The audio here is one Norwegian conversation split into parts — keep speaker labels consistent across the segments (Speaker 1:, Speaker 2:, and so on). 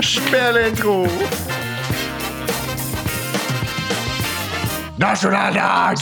Speaker 1: Oi.
Speaker 2: Spillintro! Nasjonaldag!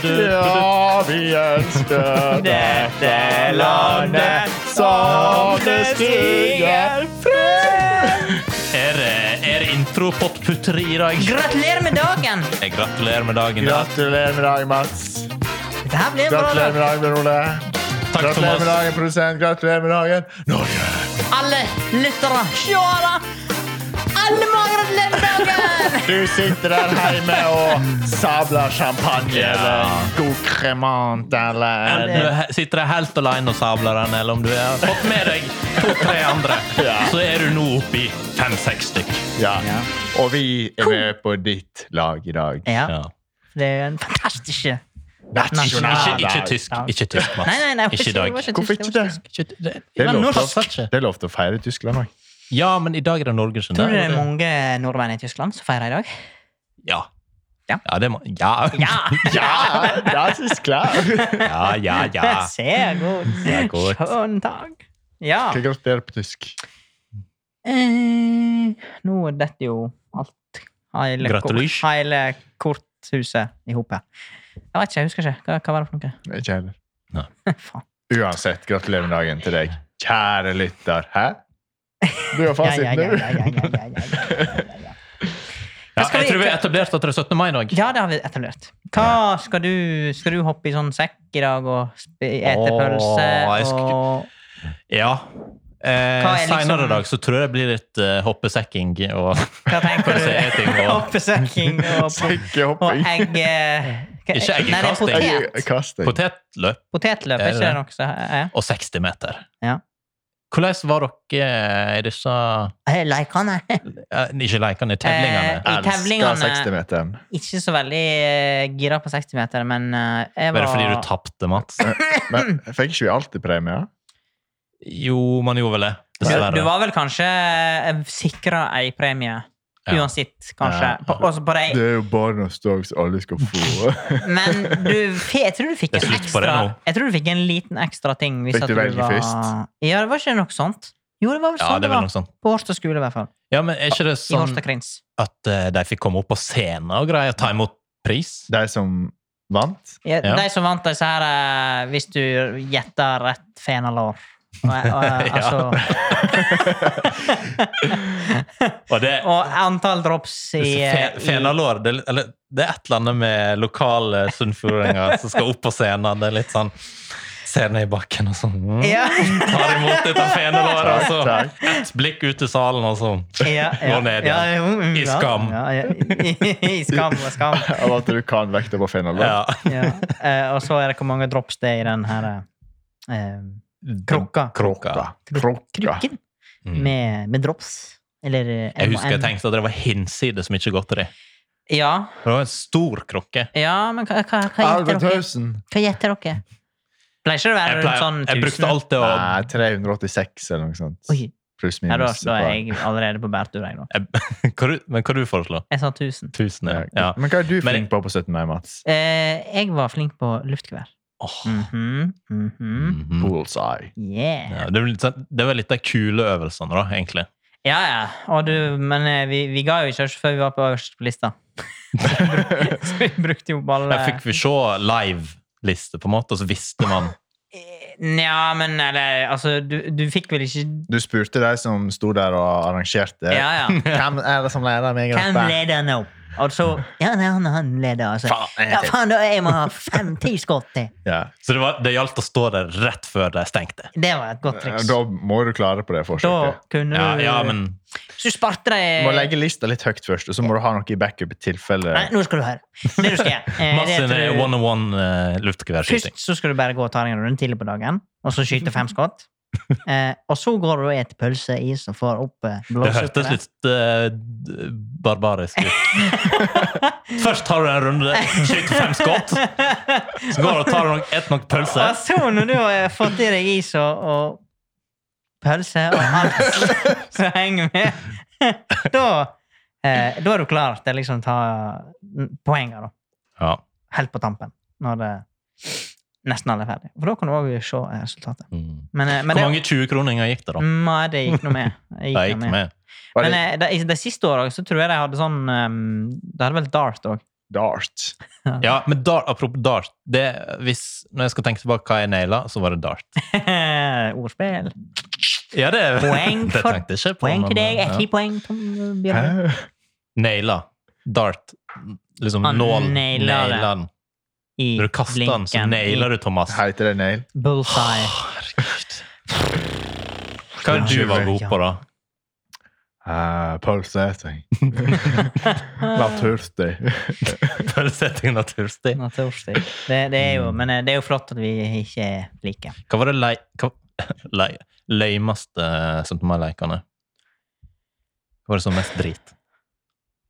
Speaker 2: Ja, vi ønsker dette landet som det stiger frem.
Speaker 3: Er det, er det intro-pop-putteri i dag?
Speaker 1: Gratulerer med dagen!
Speaker 3: Jeg gratulerer med dagen. da.
Speaker 2: Gratulerer med dagen, Mats.
Speaker 1: Dette her blir bra.
Speaker 2: Gratulerer med
Speaker 1: da.
Speaker 2: dagen, Bjørn Ole.
Speaker 3: Takk,
Speaker 2: Gratulerer med
Speaker 3: Thomas.
Speaker 2: dagen, produsent. Gratulerer med dagen, Norge.
Speaker 1: Alle lyttere, seere. Alle må gratulere med dagen!
Speaker 2: Du sitter der hjemme og sabler champagne
Speaker 3: Ja.
Speaker 2: eller en god kremant eller
Speaker 3: Enten Eh, du he- sitter der helt alene og sabler den, eller om du har fått med deg to-tre andre,
Speaker 2: Ja.
Speaker 3: så er du nå oppe i fem-seks stykk.
Speaker 2: ja. Og vi er med på ditt lag i dag.
Speaker 1: Ja,
Speaker 3: Ja.
Speaker 1: det er en fantastisk
Speaker 3: Ikke,
Speaker 1: Nasjonaldag.
Speaker 2: Nasjonaldag.
Speaker 3: ikke tysk, ikke tysk, Mats.
Speaker 1: Nei, nei, nei.
Speaker 3: ikke i dag.
Speaker 2: Hvorfor ikke det?
Speaker 3: Ikke, det, det,
Speaker 2: Det er
Speaker 3: men
Speaker 2: lov
Speaker 3: nå
Speaker 2: til
Speaker 3: passer
Speaker 2: å-
Speaker 3: ikke.
Speaker 2: det er lov til å feire i Tyskland òg.
Speaker 3: Ja, men i dag er det Norge sin
Speaker 1: Tror du det er
Speaker 3: dag.
Speaker 1: mange nordmenn i Tyskland som feirer i dag?
Speaker 3: Ja.
Speaker 1: Ja.
Speaker 3: Ja, det må, ja.
Speaker 1: Ja!
Speaker 2: Ja, das ist klar!
Speaker 3: ja, ja, ja.
Speaker 1: Se god.
Speaker 3: Ja, godt.
Speaker 1: Skjønn dag. Ja.
Speaker 2: Hva gratulerer på tysk?
Speaker 1: Eh, nå detter jo alt. Hele,
Speaker 3: Gratulish.
Speaker 1: hele korthuset i hopet. Jeg vet ikke, jeg husker ikke. Hva, hva var det for noe?
Speaker 2: Ikke heller.
Speaker 1: Faen.
Speaker 2: Uansett, gratulerer med dagen til deg, kjære lytter. Hæ? Du
Speaker 1: Ja,
Speaker 2: har
Speaker 1: ja,
Speaker 2: fasiten,
Speaker 1: ja, ja, ja,
Speaker 2: du.
Speaker 1: ja, ja, ja, ja, ja, ja.
Speaker 3: Ja,
Speaker 1: Hva skal
Speaker 3: jeg
Speaker 1: vi-
Speaker 3: tror vi har etablert at det er 17. mai i dag.
Speaker 1: Ja, det har vi etablert. Hva skal du Skal du hoppe i sånn sekk i dag og sp- ete
Speaker 3: Åh,
Speaker 1: pølse
Speaker 3: jeg skulle-
Speaker 1: og
Speaker 3: Ja. Eh,
Speaker 1: Hva er liksom-
Speaker 3: Seinere i dag så tror jeg det blir litt eh, hoppesekking og
Speaker 1: Hva tenker
Speaker 3: Pølse,
Speaker 1: du?
Speaker 3: eting og-
Speaker 1: Hoppesekking og, og
Speaker 2: Sekkehopping.
Speaker 1: egg... eh, hva-
Speaker 3: Ikke egg i
Speaker 1: Nei, det
Speaker 3: kasting.
Speaker 1: er
Speaker 2: Egg-
Speaker 1: potet.
Speaker 2: Kasting.
Speaker 3: potetløp.
Speaker 1: Potetløp,
Speaker 3: Er
Speaker 1: er
Speaker 3: det
Speaker 1: ikke det
Speaker 3: det?
Speaker 1: noe som er?
Speaker 3: og 60 meter.
Speaker 1: Ja.
Speaker 3: Hvordan var dere i disse
Speaker 1: Eh, Leikene.
Speaker 3: eh, Ikke lekene, tevlingene?
Speaker 1: I tevlingene-
Speaker 2: Elsker 60-meteren.
Speaker 1: Ikke så veldig eh, gira på 60 meter, men eh, jeg var
Speaker 3: Bare fordi du tapte, Mats?
Speaker 2: Men fikk ikke vi alltid premie?
Speaker 3: Jo, man gjorde vel det.
Speaker 1: Du, du
Speaker 3: Dessverre.
Speaker 1: var vel kanskje eh, sikra ei premie.
Speaker 3: Ja.
Speaker 1: Uansett, kanskje.
Speaker 2: Ja.
Speaker 1: På, også på
Speaker 2: Det
Speaker 1: deg.
Speaker 2: er jo bonus dog som alle skal få.
Speaker 1: Men du, fe- jeg tror du fikk
Speaker 3: Det er
Speaker 1: en
Speaker 3: slutt på det
Speaker 1: ekstra
Speaker 3: nå.
Speaker 1: Jeg tror du fikk en liten ekstra ting. Hvis
Speaker 2: Fikk
Speaker 1: at
Speaker 2: du velge
Speaker 1: var,
Speaker 2: først?
Speaker 1: Ja, det var ikke noe sånt. Jo, det var vel
Speaker 3: Ja,
Speaker 1: sånn det,
Speaker 3: det er vel
Speaker 1: var.
Speaker 3: noe sånt.
Speaker 1: På Årstad skole, i hvert fall.
Speaker 3: Ja, men er ikke det
Speaker 1: I
Speaker 3: sånn
Speaker 1: Årstad krins.
Speaker 3: at eh, de fikk komme opp på scenen og greier å ta imot pris?
Speaker 2: De som vant?
Speaker 1: Ja,
Speaker 3: Ja.
Speaker 1: De som vant disse her, eh, hvis du gjetter rett fenalår. Og, og,
Speaker 3: Ja.
Speaker 1: altså
Speaker 3: Og det
Speaker 1: Og antall drops i, eh,
Speaker 3: fe-
Speaker 1: i
Speaker 3: Fenalår det, er- eller, det er et eller annet med lokale sunnfjordinger som skal opp på scenen. Det er litt sånn Ser ned i bakken og sånn mm,
Speaker 1: Ja.
Speaker 3: Tar imot dette fenalåret, og så
Speaker 2: Takk,
Speaker 3: altså. ett blikk ut i salen, altså. og så
Speaker 1: ja, ja,
Speaker 3: Gå ned igjen.
Speaker 1: ja, jo, mm,
Speaker 3: I
Speaker 1: ja,
Speaker 3: skam.
Speaker 1: Ja, ja, i, I skam og skam.
Speaker 2: Av at du kan vekta på Fenalund.
Speaker 3: Ja.
Speaker 1: Ja. Eh, og så er det hvor mange drops det er i den her eh, krukka.
Speaker 3: Krukka.
Speaker 1: Krukken
Speaker 3: Mm.
Speaker 1: med, med drops. Eller
Speaker 3: Jeg husker jeg
Speaker 1: M&M.
Speaker 3: tenkte at det var hinsides mye godteri.
Speaker 1: Ja,
Speaker 3: Det var en stor krukke.
Speaker 1: ja men hva, hva, hva gjetter dere?
Speaker 2: 11.000!
Speaker 1: Hva gjetter dere? Pleier ikke det å være
Speaker 3: Jeg,
Speaker 1: rundt
Speaker 3: pleier,
Speaker 1: sånn
Speaker 3: jeg brukte alltid å
Speaker 2: Nei, 386 eller noe sånt.
Speaker 1: Oi,
Speaker 2: Pluss
Speaker 1: ja, da,
Speaker 2: minus.
Speaker 1: da er jeg allerede på bærtur, jeg, nå.
Speaker 3: Hva du- Men hva du foreslår
Speaker 1: Jeg sa 1000.
Speaker 3: Tusen, ja.
Speaker 2: Ja.
Speaker 3: ja.
Speaker 2: Men hva er du
Speaker 3: Men-
Speaker 2: flink på på 17. mai, Mats?
Speaker 1: Eh, jeg var flink på luftgevær.
Speaker 3: Åh.
Speaker 1: Mhm, mhm.
Speaker 3: Mhm.
Speaker 2: Bullseye.
Speaker 1: Yeah.
Speaker 3: Ja, det var litt sånn- det var litt av kuleøvelsene, da, egentlig.
Speaker 1: Ja, ja. Og du, men eh, vi, vi ga jo ikke oss før vi var på øverst på lista. så vi brukte jo alle
Speaker 3: Der fikk vi se live-liste, på en måte, og så visste man
Speaker 1: Eh, Nja, men eller Altså, du, du fikk vel ikke
Speaker 2: Du spurte de som sto der og arrangerte.
Speaker 1: Ja, ja.
Speaker 2: Hvem er det som leder meg i
Speaker 1: Hvem
Speaker 2: gruppa?
Speaker 1: leder nå? Og så Ja, nei, han, han leder, altså.
Speaker 2: Faen, jeg
Speaker 1: Ja,
Speaker 2: vet ikke.
Speaker 1: faen, da, jeg må ha fem-ti skudd til.
Speaker 2: Ja.
Speaker 3: Så det, var, det gjaldt å stå der rett før de stengte.
Speaker 1: Det var et godt triks.
Speaker 2: Da må du klare på det
Speaker 1: Da
Speaker 2: forsøket.
Speaker 1: kunne du
Speaker 3: Ja, ja men
Speaker 1: Så du sparte
Speaker 2: Du må
Speaker 1: deg
Speaker 2: legge lista litt høyt først, og så må du ha noe i backup i tilfelle
Speaker 1: Eh, Nei, nå skal du høre. Det du skal gjøre eh, det
Speaker 3: Mads
Speaker 1: er at
Speaker 3: sine
Speaker 1: du-
Speaker 3: one-on-one eh, luftgeværskyting.
Speaker 1: Først så skal du bare gå og ta deg en runde til på dagen, og så skyte fem skudd. Eh, og så går du og spiser pølse, is og får opp eh,
Speaker 3: Det
Speaker 1: blåser opp
Speaker 3: hørtes
Speaker 1: det.
Speaker 3: litt eh, d- barbarisk ut. Først tar du en runde, skyter fem skudd, så går du og tar noen, et nok pølse.
Speaker 1: Og så når du har eh, fått i deg is og, og pølse og alt som henger med, da, eh, da er du klar til å liksom ta mm, poenger, da.
Speaker 3: Ja.
Speaker 1: helt på tampen. Når det nesten alle er ferdig. For da kan du òg se eh, resultatet.
Speaker 3: Mm.
Speaker 1: Men, eh, men
Speaker 3: Hvor
Speaker 1: det,
Speaker 3: mange 20-kroninger gikk det, da?
Speaker 1: Nei, det gikk noe med. Det
Speaker 3: Jeg
Speaker 1: gikk
Speaker 3: gikk
Speaker 1: noe med.
Speaker 3: med.
Speaker 2: Var
Speaker 1: Men
Speaker 2: det
Speaker 1: eh, de, de siste åra så tror jeg de hadde sånn ehm, De hadde vel dart òg.
Speaker 2: dart?
Speaker 3: Ja, men dart, apropos dart det, hvis, Når jeg skal tenke tilbake hva jeg naila, så var det dart.
Speaker 1: Ordspill.
Speaker 3: Ja, det,
Speaker 1: Poeng
Speaker 3: det
Speaker 1: for-
Speaker 3: tenkte jeg ikke på.
Speaker 1: Poeng
Speaker 3: men, eh,
Speaker 1: til deg,
Speaker 3: ja.
Speaker 1: ett poeng til Bjørn.
Speaker 2: Hæ?
Speaker 3: Naila. Dart. Liksom
Speaker 1: Han
Speaker 3: nål.
Speaker 1: naila det.
Speaker 3: Naila den.
Speaker 1: I
Speaker 3: Når du kaster den, så
Speaker 1: blinken,
Speaker 3: nailer
Speaker 1: i
Speaker 3: du Thomas.
Speaker 2: Heter det nail?
Speaker 1: Bullseye.
Speaker 3: Herregud. Hva er det du var god på, da?
Speaker 2: Uh, Pølseeting.
Speaker 1: Ah.
Speaker 2: Naturstøy.
Speaker 3: Følelseting natursti.
Speaker 1: Naturstig. Det, det er jo, men eh, det er jo flott at vi ikke er like.
Speaker 3: Hva var det lei... Hva, lei eh, løymeste 17. mai-leikene? Hva var det som mest drit?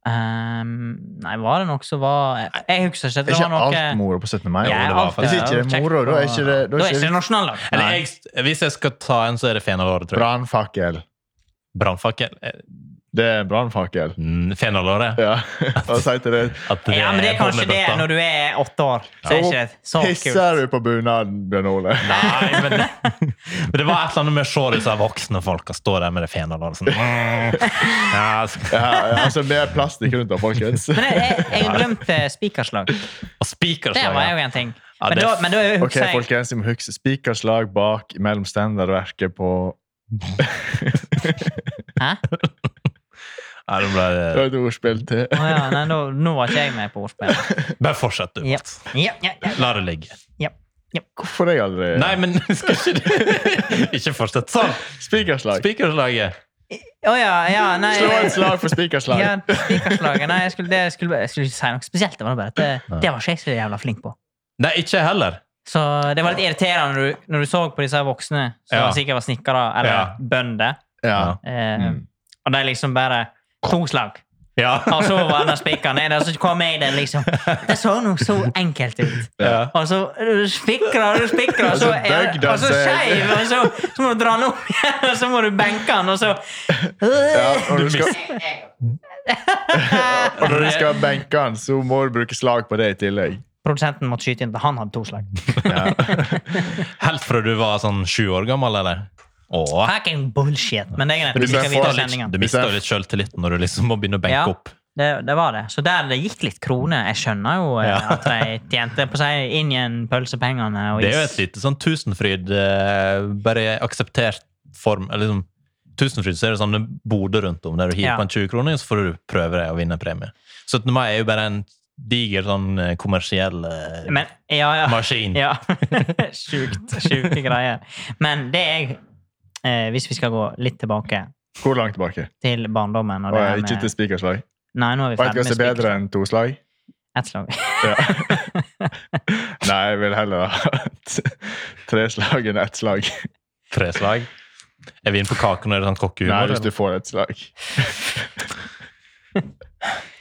Speaker 1: Ehm, nei, var det noe som var Jeg, jeg husker ikke.
Speaker 2: Er
Speaker 1: Det
Speaker 2: ikke
Speaker 1: var noe
Speaker 2: alt moro på 17. mai?
Speaker 1: Ja,
Speaker 3: Jo, det var
Speaker 1: alt
Speaker 3: faktisk-
Speaker 2: Hvis ikke det er
Speaker 1: kjekt
Speaker 2: moro, da er
Speaker 1: på-
Speaker 2: ikke det-
Speaker 1: Da er ikke det nasjonaldag.
Speaker 3: Eller
Speaker 1: Nei.
Speaker 3: jeg, hvis jeg skal ta en, så er det fenalåret, tror jeg.
Speaker 2: Brannfakkel.
Speaker 3: Brannfakkel? Eh,
Speaker 2: Det er brannfakkel.
Speaker 3: mm, Fenalåret?
Speaker 2: Ja. Og si til det
Speaker 3: At
Speaker 1: Ja, men det er kanskje det
Speaker 3: bonnebøtta.
Speaker 1: når du er åtte år. Så er ikke det så
Speaker 2: Pisser
Speaker 1: kult.
Speaker 2: du på bunaden, Bjørn Ole?
Speaker 3: Nei, men, men det var et eller annet med å se disse voksne folka stå der med det fenalåret sånn mm. ja, så-
Speaker 2: Ja, altså, mer plastikk rundt da, folkens.
Speaker 1: Men jeg, jeg, jeg har glemt eh, spikerslag.
Speaker 3: Og
Speaker 1: Det var
Speaker 3: spikerslag.
Speaker 1: jo en ting.
Speaker 3: Ja,
Speaker 1: Men
Speaker 3: det-
Speaker 1: da, men da
Speaker 2: Ok,
Speaker 1: husker jeg
Speaker 2: folkens, vi må huske spikerslag bak mellom standardverket på
Speaker 1: Hæ?
Speaker 3: Ja, det ble,
Speaker 2: Det var et ordspill til.
Speaker 1: Å ja, nei, nå, nå var ikke jeg med på ordspillet.
Speaker 3: bare fortsett, du.
Speaker 1: Ja, ja, ja, ja.
Speaker 3: La det ligge.
Speaker 2: Hvorfor har jeg aldri
Speaker 3: Nei, men skal ikke du Ikke fortsett sånn!
Speaker 2: Spikerslag.
Speaker 3: Spikerslaget.
Speaker 1: Å ja, ja, nei
Speaker 2: Slå et slag for spikerslag.
Speaker 1: Ja, spikerslaget. Nei, jeg skulle, det, jeg, skulle, jeg skulle ikke si noe spesielt. Det var bare at det, det var ikke jeg så jævla flink på.
Speaker 3: Nei, ikke jeg heller.
Speaker 1: Så det var litt irriterende når du, når du så på disse voksne som
Speaker 3: Ja.
Speaker 1: sikkert var snikkere eller
Speaker 3: Ja.
Speaker 1: bønder,
Speaker 2: Ja.
Speaker 1: eh,
Speaker 2: Mm.
Speaker 1: og de liksom bare To slag.
Speaker 3: Ja.
Speaker 1: Og så var den spikeren nede, og så kom jeg der, liksom. Det så noe så enkelt ut.
Speaker 3: ja.
Speaker 1: Og så øh, spikrer du spikrer, og
Speaker 2: Og
Speaker 1: så,
Speaker 2: så
Speaker 1: er-
Speaker 2: bøgde han
Speaker 1: og så
Speaker 2: seg.
Speaker 1: skeiv, og så, så må du dra den opp igjen, og så må du benke den, og så
Speaker 2: Ja, og
Speaker 3: Du
Speaker 2: du skal, og når du skal benke han, så må du bruke slag på det i tillegg.
Speaker 1: Produsenten måtte skyte inn, han hadde to slag.
Speaker 2: Ja.
Speaker 3: Helt fra du var sånn sju år gammel, eller? Åh.
Speaker 1: Fucking bullshit. Men det er greit.
Speaker 2: Du
Speaker 1: Vi skal
Speaker 2: bør få
Speaker 1: videre i
Speaker 2: litt-
Speaker 1: sendingen.
Speaker 3: Du mister jo litt sjøltilliten når du liksom må begynne å benke
Speaker 1: Ja.
Speaker 3: opp.
Speaker 1: Det, det var det. Så der det gikk litt kroner. Jeg skjønner jo eh,
Speaker 3: Ja.
Speaker 1: at de tjente på seg inn igjen pølsepengene eh, og
Speaker 3: Det er jo
Speaker 1: is.
Speaker 3: et lite sånn Tusenfryd, eh, bare i akseptert form. eller Liksom, tusenfryd så er det sånne boder rundt om der du hiver
Speaker 1: Ja.
Speaker 3: på en 20-kroning, så får du prøve deg å vinne premie. 17. mai er jo bare en diger sånn eh, kommersiell eh,
Speaker 1: Men, ja, ja.
Speaker 3: maskin.
Speaker 1: ja. Sjukt. Sjuke greier. Men det jeg eh, Hvis vi skal gå litt tilbake
Speaker 2: Hvor langt tilbake?
Speaker 1: til barndommen og
Speaker 2: Og
Speaker 1: det
Speaker 2: jeg,
Speaker 1: her
Speaker 2: ikke til
Speaker 1: med,
Speaker 2: spikerslag.
Speaker 1: Nei, nå er vi
Speaker 2: Vet du
Speaker 1: ferdig
Speaker 2: hva som
Speaker 1: med
Speaker 2: er bedre
Speaker 1: spiker.
Speaker 2: enn to slag?
Speaker 1: Ett slag.
Speaker 2: Ja. Nei, jeg vil heller ha t- tre slag enn ett slag.
Speaker 3: Tre slag. Er vi inne på kaken og er det sånn
Speaker 2: Nei,
Speaker 3: kokkehumor?
Speaker 2: hvis du
Speaker 3: eller?
Speaker 2: får et slag.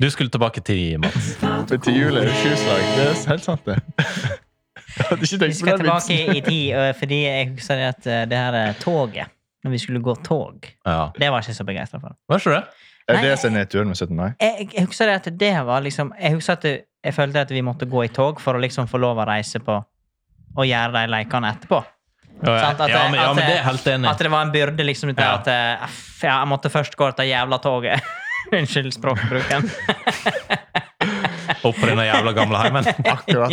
Speaker 3: Du skulle tilbake til Mats.
Speaker 2: Men til jul er det sju slag. Det er helt sant, det. Jeg hadde
Speaker 1: Vi
Speaker 2: ikke tenkt på
Speaker 1: skal
Speaker 2: den
Speaker 1: tilbake
Speaker 2: vitsen.
Speaker 1: i tid, eh, fordi jeg husker det at eh, det her eh, toget Når vi skulle gå tog,
Speaker 3: Ja.
Speaker 1: det var jeg ikke så begeistra for.
Speaker 3: Var ikke det?
Speaker 2: Er det som er nedturen med 17. mai?
Speaker 1: jeg, jeg husker det at det var liksom Jeg husker at det- jeg følte at vi måtte gå i tog for å liksom få lov å reise på og gjøre de lekene etterpå. Sant?
Speaker 3: Ja,
Speaker 1: At,
Speaker 3: ja,
Speaker 1: det-
Speaker 3: men, ja,
Speaker 1: at
Speaker 3: men
Speaker 1: det-
Speaker 3: det er jeg helt enig. i.
Speaker 1: At det var en byrde, liksom. Dette,
Speaker 3: Ja.
Speaker 1: At eh, f- ja, jeg måtte først gå dette jævla toget. Unnskyld språkbruken.
Speaker 3: Opp på denne jævla gamle heimen.
Speaker 2: Akkurat.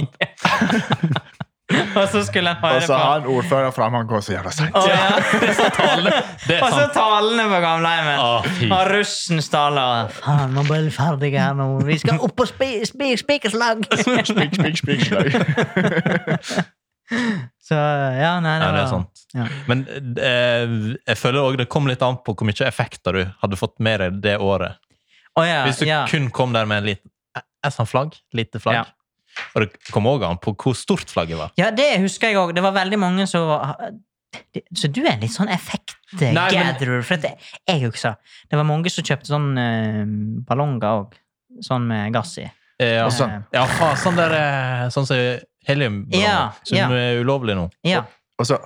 Speaker 1: og så skulle en høre
Speaker 2: Og
Speaker 1: på.
Speaker 2: så har han ordføreren fram, han går så jævla seint.
Speaker 1: Å, ja.
Speaker 3: Det er sånn talende. Det er
Speaker 1: Og så
Speaker 3: sant.
Speaker 1: talene på gamleheimen.
Speaker 3: Å, fy.
Speaker 1: Og russens taler. Faen, nå blir vi ferdige her nå. Vi skal opp på spi spi spikerslag!
Speaker 2: Spikk, spikk, spikk, slag.
Speaker 1: så ja, nei, det
Speaker 3: Ja,
Speaker 1: var
Speaker 3: det er sant.
Speaker 1: Ja.
Speaker 3: Men eh, jeg føler også det kom litt an på hvor mye effekter du hadde fått med deg det året.
Speaker 1: Å, ja,
Speaker 3: Hvis du
Speaker 1: ja.
Speaker 3: kun kom der med en liten, et sånt flagg, lite flagg,
Speaker 1: Ja.
Speaker 3: og det kom også an på hvor stort flagget var.
Speaker 1: Ja, det husker jeg òg. Det var veldig mange som var- Så du er en litt sånn
Speaker 3: Nei, men-
Speaker 1: effekt-gatherer. For at jeg, jeg husker det var mange som kjøpte sånn eh, ballonger òg. Sånn med gass i.
Speaker 3: Eh,
Speaker 1: Ja.
Speaker 3: og sånn, ja, faen, sånn der, eh, sånn som helium,
Speaker 1: Ja,
Speaker 3: som
Speaker 1: ja.
Speaker 3: er ulovlig nå.
Speaker 1: Ja.
Speaker 2: Og så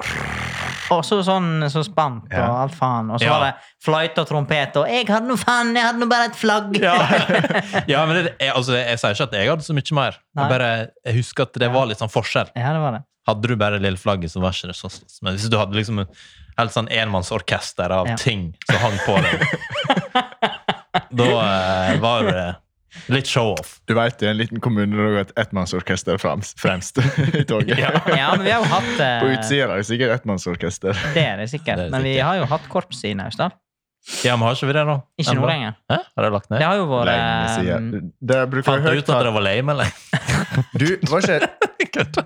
Speaker 1: Og så sånn så spant og
Speaker 2: Ja.
Speaker 1: alt faen. Og så
Speaker 3: Ja.
Speaker 1: var det fløyte og trompet og 'Jeg hadde nå faen, jeg hadde nå bare et flagg'.
Speaker 3: Ja, ja men det, jeg, altså, jeg sier ikke at jeg hadde så mye mer.
Speaker 1: Nei.
Speaker 3: Jeg bare jeg husker at det var litt sånn forskjell.
Speaker 1: Ja, det var det.
Speaker 3: Hadde du bare lille flagget, så var ikke det så stas. Men hvis du hadde liksom en helt sånn enmannsorkester av
Speaker 1: Ja.
Speaker 3: ting som hang på deg, da eh, var det litt show-off.
Speaker 2: Du veit i en liten kommune når det går et ettmannsorkester fremst, fremst i toget.
Speaker 3: Ja.
Speaker 1: Ja, men vi har jo hatt eh,
Speaker 2: På utsida er det sikkert ettmannsorkester.
Speaker 1: Det er det sikkert.
Speaker 3: Det er det
Speaker 1: Men vi
Speaker 3: sikkert.
Speaker 1: har jo hatt korps i Naustdal.
Speaker 3: Ja, men har ikke vi det nå?
Speaker 1: Ikke nå lenger.
Speaker 3: Hæ? Har det lagt
Speaker 1: Det
Speaker 3: ned?
Speaker 1: har jo vært
Speaker 2: Lenge
Speaker 1: um,
Speaker 2: siden. Det bruker
Speaker 3: Fant du
Speaker 2: jeg
Speaker 3: ut at
Speaker 2: høyt
Speaker 3: det var lame, eller?
Speaker 2: Du, var ikke
Speaker 3: Kødda.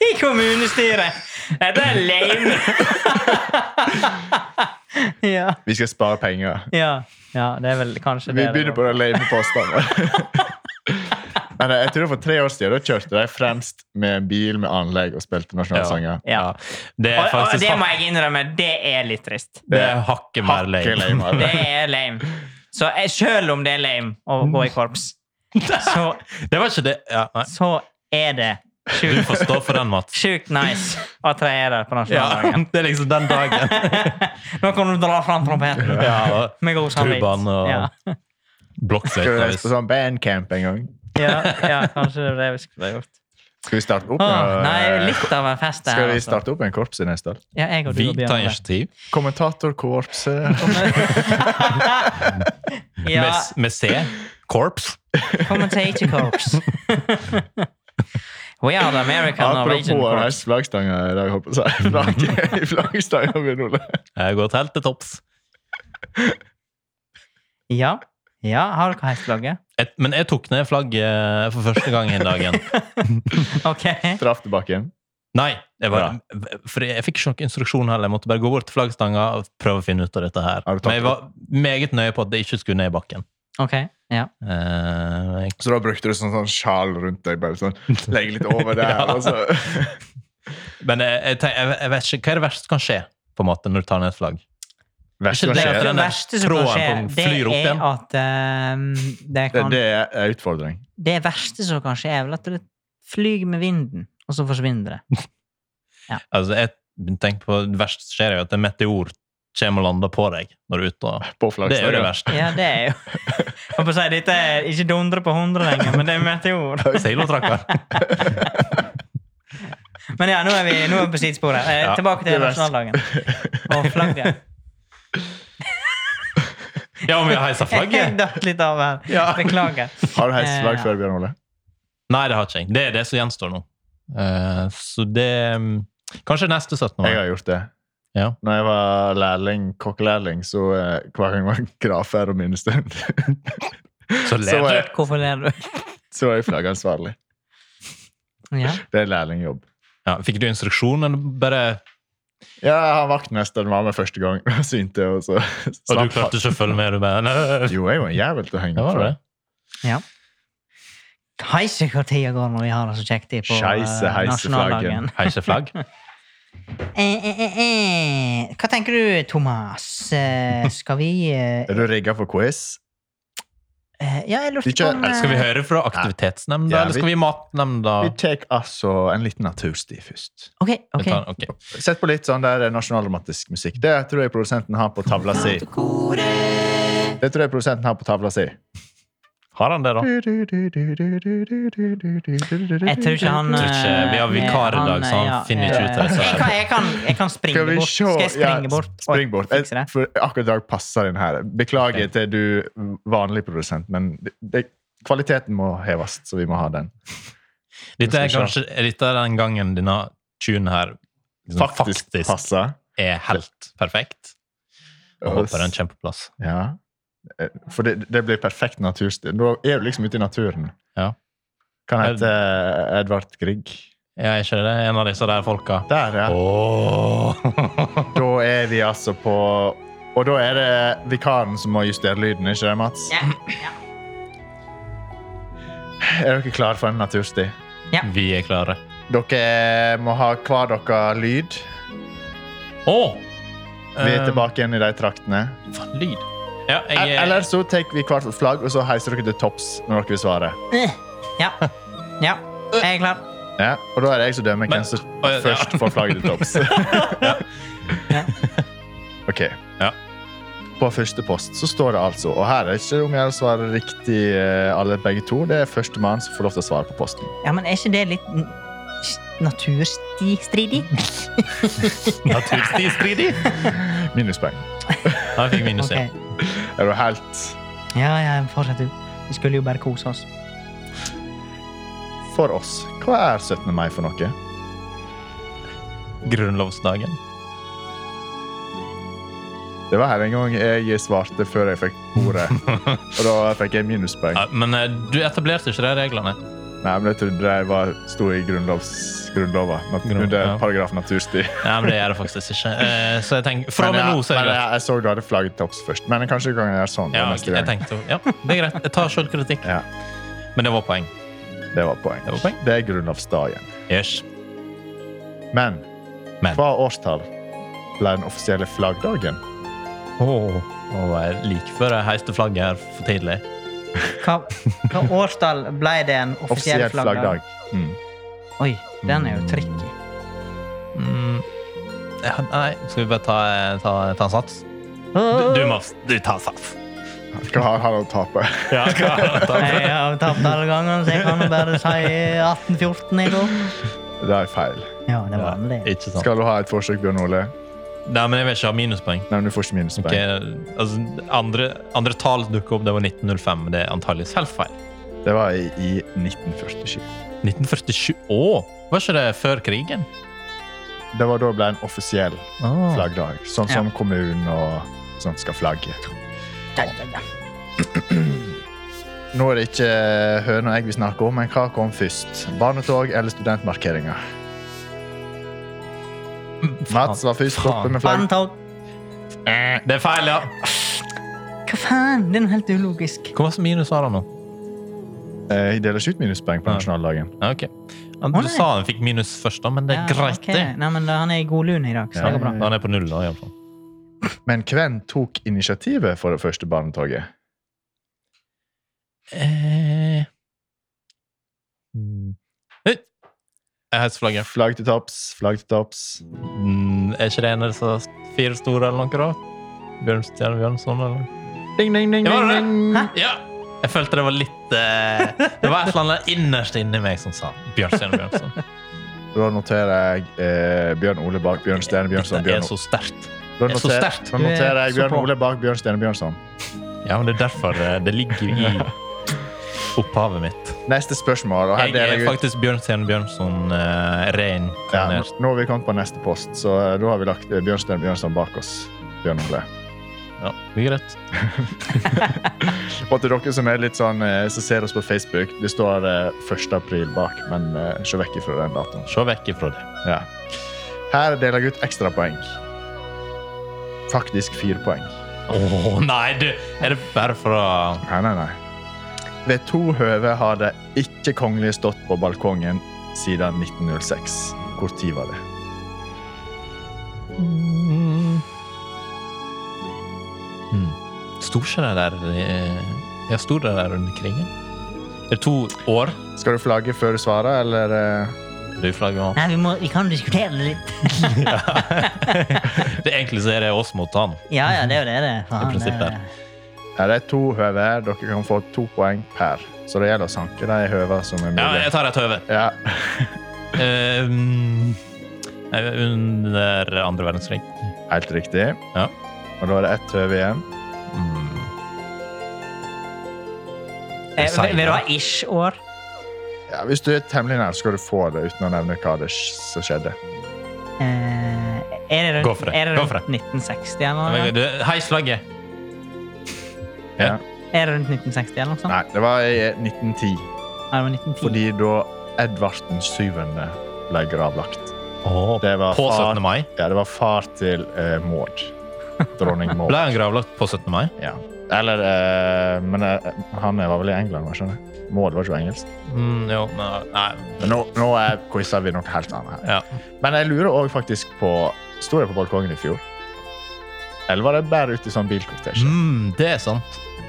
Speaker 1: I kommunestyret! Dette er lame! ja,
Speaker 2: Vi skal spare penger.
Speaker 1: ja, ja, det er vel kanskje
Speaker 2: Vi
Speaker 1: det. det
Speaker 2: begynner på
Speaker 1: går.
Speaker 2: den lame påstanden. Men eh, jeg tror for tre år siden da kjørte de fremst med en bil med anlegg og spilte nasjonalsanger.
Speaker 1: Ja.
Speaker 3: Det
Speaker 1: Og,
Speaker 3: er
Speaker 1: og
Speaker 3: faktisk
Speaker 1: det må
Speaker 3: hak-
Speaker 1: jeg innrømme, det er litt trist.
Speaker 3: det er hakket mer
Speaker 2: Ikke
Speaker 3: lame.
Speaker 2: lame, altså.
Speaker 1: Det
Speaker 2: eller?
Speaker 1: er lame. Så jeg, selv om det er lame å gå i korps, så,
Speaker 3: Det var ikke det. Ja, nei.
Speaker 1: så er det
Speaker 3: Du
Speaker 1: sjukt
Speaker 3: får stå for den, Mats.
Speaker 1: sjukt nice å treere på
Speaker 3: Ja,
Speaker 1: nasjonaldagen.
Speaker 3: det er liksom den dagen.
Speaker 1: Nå kan du dra fram trompeten.
Speaker 3: Ja, og
Speaker 1: Med god samvittighet.
Speaker 3: Tubaen og
Speaker 1: Ja.
Speaker 2: Skal vi reise
Speaker 3: blokksøytene.
Speaker 2: på sånn bandcamp en gang?
Speaker 1: Ja, ja, kanskje det er det vi skulle ha gjort.
Speaker 2: Skal vi starte opp?
Speaker 1: Åh,
Speaker 2: med-
Speaker 1: nei, litt av en fest det her.
Speaker 2: Skal vi
Speaker 1: altså.
Speaker 2: starte opp en korps i neste år?
Speaker 1: Ja, jeg og du
Speaker 3: Vi
Speaker 1: og
Speaker 3: tar
Speaker 1: Bjørn.
Speaker 3: initiativ.
Speaker 2: Kommentatorkorpset
Speaker 1: ja,
Speaker 3: Med, med C. Corps.
Speaker 1: commentator corps. We are the American Norwegian
Speaker 2: Apropos
Speaker 1: corps.
Speaker 2: reise flaggstanga i dag, holdt jeg på å si. Flagget i flaggstanga, Bjørn Ole.
Speaker 3: Jeg går helt til topps.
Speaker 1: Ja. ja, har dere heisflagget?
Speaker 3: Et- Men jeg tok ned flagget eh, for første gang i dagen.
Speaker 1: Ok.
Speaker 2: Traff tilbake igjen.
Speaker 3: Nei, jeg var, for jeg, jeg fikk ikke noen instruksjon heller. Jeg måtte bare gå bort til flaggstanga og prøve å finne ut av dette her.
Speaker 2: Har du tatt
Speaker 3: Men jeg var meget nøye på at det ikke skulle ned i bakken.
Speaker 1: Ok, ja.
Speaker 3: Eh, jeg-
Speaker 2: Så da brukte du sånn, sånn sjal rundt deg, bare sånn legge litt over der,
Speaker 3: Ja.
Speaker 2: og så
Speaker 3: men jeg, jeg, tenk- jeg, jeg vet ikke, hva er det verste som kan skje på en måte når du tar ned et flagg?
Speaker 2: Verst som
Speaker 3: Det er
Speaker 1: Det,
Speaker 3: ikke
Speaker 2: skjer,
Speaker 3: den der
Speaker 1: verste som kan skje,
Speaker 3: tråden som
Speaker 1: det
Speaker 3: flyr opp
Speaker 1: er
Speaker 3: igjen.
Speaker 1: at ehm, det,
Speaker 2: det,
Speaker 1: kan,
Speaker 2: det er utfordring.
Speaker 1: det verste som kan skje, er vel at det flyr med vinden, og så forsvinner det.
Speaker 3: Altså, jeg tenker på Det verste som skjer, er jo at en meteor kommer og lander på deg når du er ute. og-
Speaker 2: På
Speaker 3: Det er jo det
Speaker 2: flaggstanga.
Speaker 3: verste.
Speaker 1: Ja, det er jo Jeg holdt på å si, dette er ikke dundre på hundre lenger, men det er meteor.
Speaker 3: Seilotrakker.
Speaker 1: Men ja, nå er vi, nå er vi på sidesporet. Eh,
Speaker 3: Ja,
Speaker 1: tilbake
Speaker 2: det
Speaker 1: til
Speaker 2: er verst.
Speaker 1: nasjonaldagen. Og flagget.
Speaker 3: Ja, om vi har heisa
Speaker 1: Jeg
Speaker 3: flagget?
Speaker 1: datt litt av her.
Speaker 3: Ja.
Speaker 1: Beklager.
Speaker 2: Har du heist flagg
Speaker 1: Eh,
Speaker 2: før, Bjørn Ole?
Speaker 3: Nei, det har ikke jeg. Det er det som gjenstår nå. Eh, så det mm, Kanskje neste
Speaker 2: Jeg
Speaker 3: 17. mai.
Speaker 2: har gjort det.
Speaker 3: Ja.
Speaker 2: Når jeg var lærling, kokkelærling, så eh, hver gang det var grafer og minnestund,
Speaker 3: Så
Speaker 2: så var
Speaker 3: ler
Speaker 2: jeg,
Speaker 1: Hvorfor ler du?
Speaker 2: så var jeg flaggansvarlig.
Speaker 1: Ja.
Speaker 2: Det er lærlingjobb.
Speaker 3: ja, Fikk du instruksjon, eller bare
Speaker 2: Ja, jeg har vaktmesteren var med første gang. og Synte, og så
Speaker 3: Og du
Speaker 2: slapp
Speaker 3: klarte ikke å følge med? Du bare
Speaker 2: han.
Speaker 3: Nei.
Speaker 2: Jo, jeg var en jævel til å henge
Speaker 3: Ja, var
Speaker 2: fra.
Speaker 3: det det?
Speaker 1: ja. Heise hvor tida går når vi har det så kjekt i på eh,
Speaker 2: Scheisse, heise flaggen.
Speaker 1: nasjonaldagen.
Speaker 3: Heise flagg?
Speaker 1: Eh, eh, eh, eh. Hva tenker du, Thomas? Eh, skal vi eh,
Speaker 2: Er du rigga for quiz?
Speaker 1: eh, Ja, jeg lurte
Speaker 2: Ikke-
Speaker 1: på om eh,
Speaker 3: Skal vi høre fra aktivitetsnemnda,
Speaker 2: Ja,
Speaker 3: eller skal
Speaker 2: vi-
Speaker 3: vi i matnemnda?
Speaker 2: Vi tar altså en liten natursti først.
Speaker 1: Ok,
Speaker 3: Vi
Speaker 1: ok.
Speaker 3: tar- ok.
Speaker 2: Sett på litt sånn der nasjonalromantisk musikk. Det tror jeg produsenten har på tavla si. Det tror jeg produsenten har på tavla si.
Speaker 3: Har han det, da?
Speaker 2: Jeg
Speaker 1: Jeg tror ikke han
Speaker 3: Jeg tror ikke,
Speaker 1: eh,
Speaker 3: vi har vikar i
Speaker 1: han,
Speaker 3: dag, så han
Speaker 1: ja,
Speaker 3: finner ikke ut av
Speaker 1: eh,
Speaker 3: dette her.
Speaker 1: Jeg kan, jeg kan, jeg kan springe
Speaker 2: Skal vi
Speaker 1: bort.
Speaker 2: se
Speaker 1: Skal jeg springe
Speaker 2: Ja,
Speaker 1: bort? og
Speaker 2: Spring bort.
Speaker 1: fikse det?
Speaker 2: Jeg, for akkurat i dag passer den her. Beklager til du vanlig produsent, men det, det, kvaliteten må heves, så vi må ha den.
Speaker 3: Dette er
Speaker 2: Skal
Speaker 3: kanskje er dette er den gangen denne tunen her liksom,
Speaker 2: Faktisk,
Speaker 3: faktisk,
Speaker 2: passer.
Speaker 3: er helt perfekt. Jeg håper den kommer på plass.
Speaker 2: Ja. Eh, For det, det blir perfekt naturstil. Da er du liksom ute i naturen.
Speaker 3: Ja.
Speaker 2: Kan hete Edvard Grieg.
Speaker 3: Ja, er ikke det en av disse der folka?
Speaker 2: Der, ja.
Speaker 3: Åh.
Speaker 2: Da er vi altså på Og da er det vikaren som må justere lyden, ikke det, Mats?
Speaker 1: Ja, ja.
Speaker 2: Er dere klare for en natursti?
Speaker 3: Vi er klare.
Speaker 2: Dere må ha hver deres lyd.
Speaker 3: Å!
Speaker 2: Vi er
Speaker 3: Eh,
Speaker 2: tilbake igjen i de traktene.
Speaker 3: faen, Lyd. Ja, jeg
Speaker 2: El-
Speaker 3: er
Speaker 2: Eller så tar vi hvert vårt flagg, og så heiser dere til topps når dere vil svare.
Speaker 1: Eh, Ja. Ja, Eh, jeg er klar.
Speaker 2: Ja, og da er det jeg som dømmer
Speaker 3: Men-
Speaker 2: hvem som
Speaker 3: Å, ja.
Speaker 2: først får flagget til topps.
Speaker 1: Ja.
Speaker 2: OK.
Speaker 3: Ja.
Speaker 2: På første post så står det altså Og her er det ikke om jeg svarer riktig eh, alle begge to. Det er førstemann som får lov til å svare på posten.
Speaker 1: ja, men er ikke det litt n- s- naturstridig?
Speaker 3: Naturstistridig.
Speaker 2: Minuspoeng.
Speaker 3: Ja, jeg fikk minus én.
Speaker 1: Ok.
Speaker 2: Er du helt
Speaker 1: Ja, ja, fortsett du. Vi skulle jo bare kose oss.
Speaker 2: for oss? Hva er 17. mai for noe?
Speaker 3: Grunnlovsdagen.
Speaker 2: Det var her en gang jeg svarte før jeg fikk ordet. Og da fikk jeg minuspoeng.
Speaker 3: Ja, men eh, du etablerte ikke de reglene.
Speaker 2: Nei, men jeg trodde det var, sto i grunnlovs, grunnlova. nat-
Speaker 3: Grunn-
Speaker 2: under
Speaker 3: ja.
Speaker 2: paragraf natursti.
Speaker 3: Ja, men det gjør det faktisk ikke. Eh, Så jeg tenker, fra og med
Speaker 2: jeg,
Speaker 3: nå så er
Speaker 2: men
Speaker 3: det
Speaker 2: jeg,
Speaker 3: greit.
Speaker 2: jeg så du hadde flagget topps først. Men kanskje gangen er sånn.
Speaker 3: Ja,
Speaker 2: da, neste
Speaker 3: jeg
Speaker 2: gang.
Speaker 3: tenkte, ja, det er greit. Jeg tar selvkritikk.
Speaker 2: Ja.
Speaker 3: Men det var poeng.
Speaker 2: Det var poeng.
Speaker 3: Det var poeng.
Speaker 2: er grunnlovsdagen.
Speaker 3: Yes.
Speaker 2: Men,
Speaker 3: Men.
Speaker 2: hva årstall ble den offisielle flaggdagen?
Speaker 3: Oh. jeg like før jeg heiste flagget her for tidlig.
Speaker 1: Hva, hva årstall ble det en offisiell
Speaker 2: Offisiell
Speaker 1: flaggdag?
Speaker 2: flaggdag. Mm.
Speaker 1: Oi, den er jo tricky.
Speaker 3: Mm. Ja, nei, skal vi bare ta, ta, ta en sats? Du, må du tar sats.
Speaker 2: Hva har han å tape?
Speaker 3: Ja,
Speaker 1: Jeg har tapt alle gangene, så jeg kan jo bare si 1814 i går.
Speaker 2: Det er feil.
Speaker 1: Ja, det var vanlig.
Speaker 3: Ikke sant.
Speaker 2: Skal du ha et forsøk, Bjørn Ole?
Speaker 3: Nei, men jeg vil ikke ha minuspoeng.
Speaker 2: Nei, men du får ikke minuspoeng.
Speaker 3: Ok, altså, andre, andre tall dukker opp, det var 1905, men det er antageligvis helt feil.
Speaker 2: Det var i, i 1947.
Speaker 3: 1947? Å! Var ikke det før krigen?
Speaker 2: Det var da det ble en offisiell
Speaker 1: Ah.
Speaker 3: Ah.
Speaker 2: flaggdag. Sånn som
Speaker 1: Ja.
Speaker 2: kommunen og sånt skal flagge.
Speaker 1: Ja, ja, ja.
Speaker 2: Nå er det ikke høne og egg vi snakker om, men hva kom først? Barnetog eller studentmarkeringer?
Speaker 1: Mm,
Speaker 2: Mats var først
Speaker 3: Faen.
Speaker 2: oppe med flagg.
Speaker 1: Bandtog.
Speaker 3: Eh, Det er feil, ja.
Speaker 1: Hva faen? Den er helt ulogisk.
Speaker 3: Hvor mange minus har han nå?
Speaker 2: Eh, Jeg deler ikke ut minuspoeng på
Speaker 3: Ja.
Speaker 2: nasjonaldagen.
Speaker 3: Ja, Ok. Han,
Speaker 1: Å,
Speaker 3: du
Speaker 1: nei.
Speaker 3: sa han fikk minus først, da, men det er
Speaker 1: Ja,
Speaker 3: greit,
Speaker 1: ok.
Speaker 3: det. Eh,
Speaker 1: Nei, men da- han er i god lune i dag, så det går bra.
Speaker 3: Han er på null, da, iallfall.
Speaker 2: Men hvem tok initiativet for det første barnetoget?
Speaker 3: Eh. Mm. Oi! Jeg heiser flagget.
Speaker 2: Flagg til topps, flagg til topps.
Speaker 3: Mm, er ikke det en av disse fire store eller noe, da? Bjørnstjerne Bjørnson, eller?
Speaker 2: Ding, ding, ding,
Speaker 3: Ja, var
Speaker 2: ding,
Speaker 3: det det?
Speaker 2: ding.
Speaker 1: Hæ?
Speaker 3: Ja! Jeg følte det var litt eh, Det var et eller annet innerst inni meg som sa Bjørnstjerne Bjørnson.
Speaker 2: Da noterer jeg eh, Bjørn Ole bak Bjørn Stene Bjørnson.
Speaker 3: Dette
Speaker 2: Bjørn
Speaker 3: er så sterkt.
Speaker 2: Da
Speaker 3: det er så
Speaker 2: noter-
Speaker 3: sterkt.
Speaker 2: Da
Speaker 1: Du er
Speaker 2: noterer jeg
Speaker 1: så
Speaker 2: Bjørn
Speaker 1: på.
Speaker 2: Ole bak Bjørn Stene Bjørnson.
Speaker 3: Ja, men det er derfor eh, det ligger i opphavet mitt.
Speaker 2: Neste spørsmål, og her
Speaker 3: Jeg
Speaker 2: deler
Speaker 3: er
Speaker 2: jeg ut
Speaker 3: faktisk Bjørnstjerne Bjørnson eh,
Speaker 2: Ja, nå-
Speaker 3: reinkarnert.
Speaker 2: nå har vi kommet på neste post, så eh, da har vi lagt eh, Bjørnstein Bjørnson bak oss. Bjørn Ole.
Speaker 3: Ja, det er greit.
Speaker 2: Og til dere som er litt sånn, eh, som ser oss på Facebook, det står eh, 1. april bak, men eh, se vekk ifra den datoen.
Speaker 3: Se vekk ifra det.
Speaker 2: Ja. Her deler jeg ut ekstrapoeng. Faktisk fire poeng.
Speaker 3: Å nei, du! Er det bare for å
Speaker 2: Nei, nei, nei. Ved to høve har det ikke kongelige stått på balkongen siden 1906. Hvor tid var det?
Speaker 3: mm. mm. Sto ikke det der eh, Ja, sto det der under krigen? Er det to år?
Speaker 2: Skal du flagge før du svarer, eller? eh?
Speaker 3: Du flagger han.
Speaker 1: Nei, vi, må, vi kan diskutere det litt.
Speaker 3: Det egentlig så er det oss mot han.
Speaker 1: Ja, ja, det er jo det det er. Faen, eh,
Speaker 3: I prinsippet.
Speaker 1: det er-
Speaker 2: Ja, det er to høve. Dere kan få to poeng per. Så det gjelder å sanke de høva som er
Speaker 3: Ja,
Speaker 2: mulig.
Speaker 3: jeg tar et høve.
Speaker 2: Ja,
Speaker 3: Eh, mm, eh, under andre verdenskrig.
Speaker 2: helt riktig.
Speaker 3: Ja.
Speaker 2: Og da er det ett høve igjen.
Speaker 3: Mm.
Speaker 1: Eh, Vil vil du ha ish-år?
Speaker 2: Ja, hvis du er temmelig nær, så skal du få det uten å nevne hva det sk- som skjedde.
Speaker 1: Eh, er det
Speaker 3: Gå
Speaker 1: rundt,
Speaker 3: for det.
Speaker 1: er det
Speaker 3: Gå
Speaker 1: rundt
Speaker 3: for det.
Speaker 1: 1960 eller noe?
Speaker 3: Du, Heis flagget.
Speaker 2: Ja.
Speaker 1: Er det rundt 1960 eller noe sånt?
Speaker 2: Nei, det var i 1910.
Speaker 1: Ja, det var 1910.
Speaker 2: Fordi da Edvard den syvende ble gravlagt.
Speaker 3: Åh,
Speaker 2: Det var
Speaker 3: på
Speaker 2: far-
Speaker 3: 17. mai.
Speaker 2: Ja, det var far til eh, Maud. Dronning Maud.
Speaker 3: Ble han gravlagt på 17. mai?
Speaker 2: Ja. Eller eh, Men eh, han var vel i England, var ikke det? Maud var ikke engelsk.
Speaker 3: Mm, jo, men, nei.
Speaker 2: Men nå, nå er quizer vi noe helt annet her.
Speaker 3: Ja.
Speaker 2: Men jeg lurer òg faktisk på Sto jeg på balkongen i fjor? Eller var det bare ute i sånn bilkortesje?
Speaker 3: Mm, det er sant.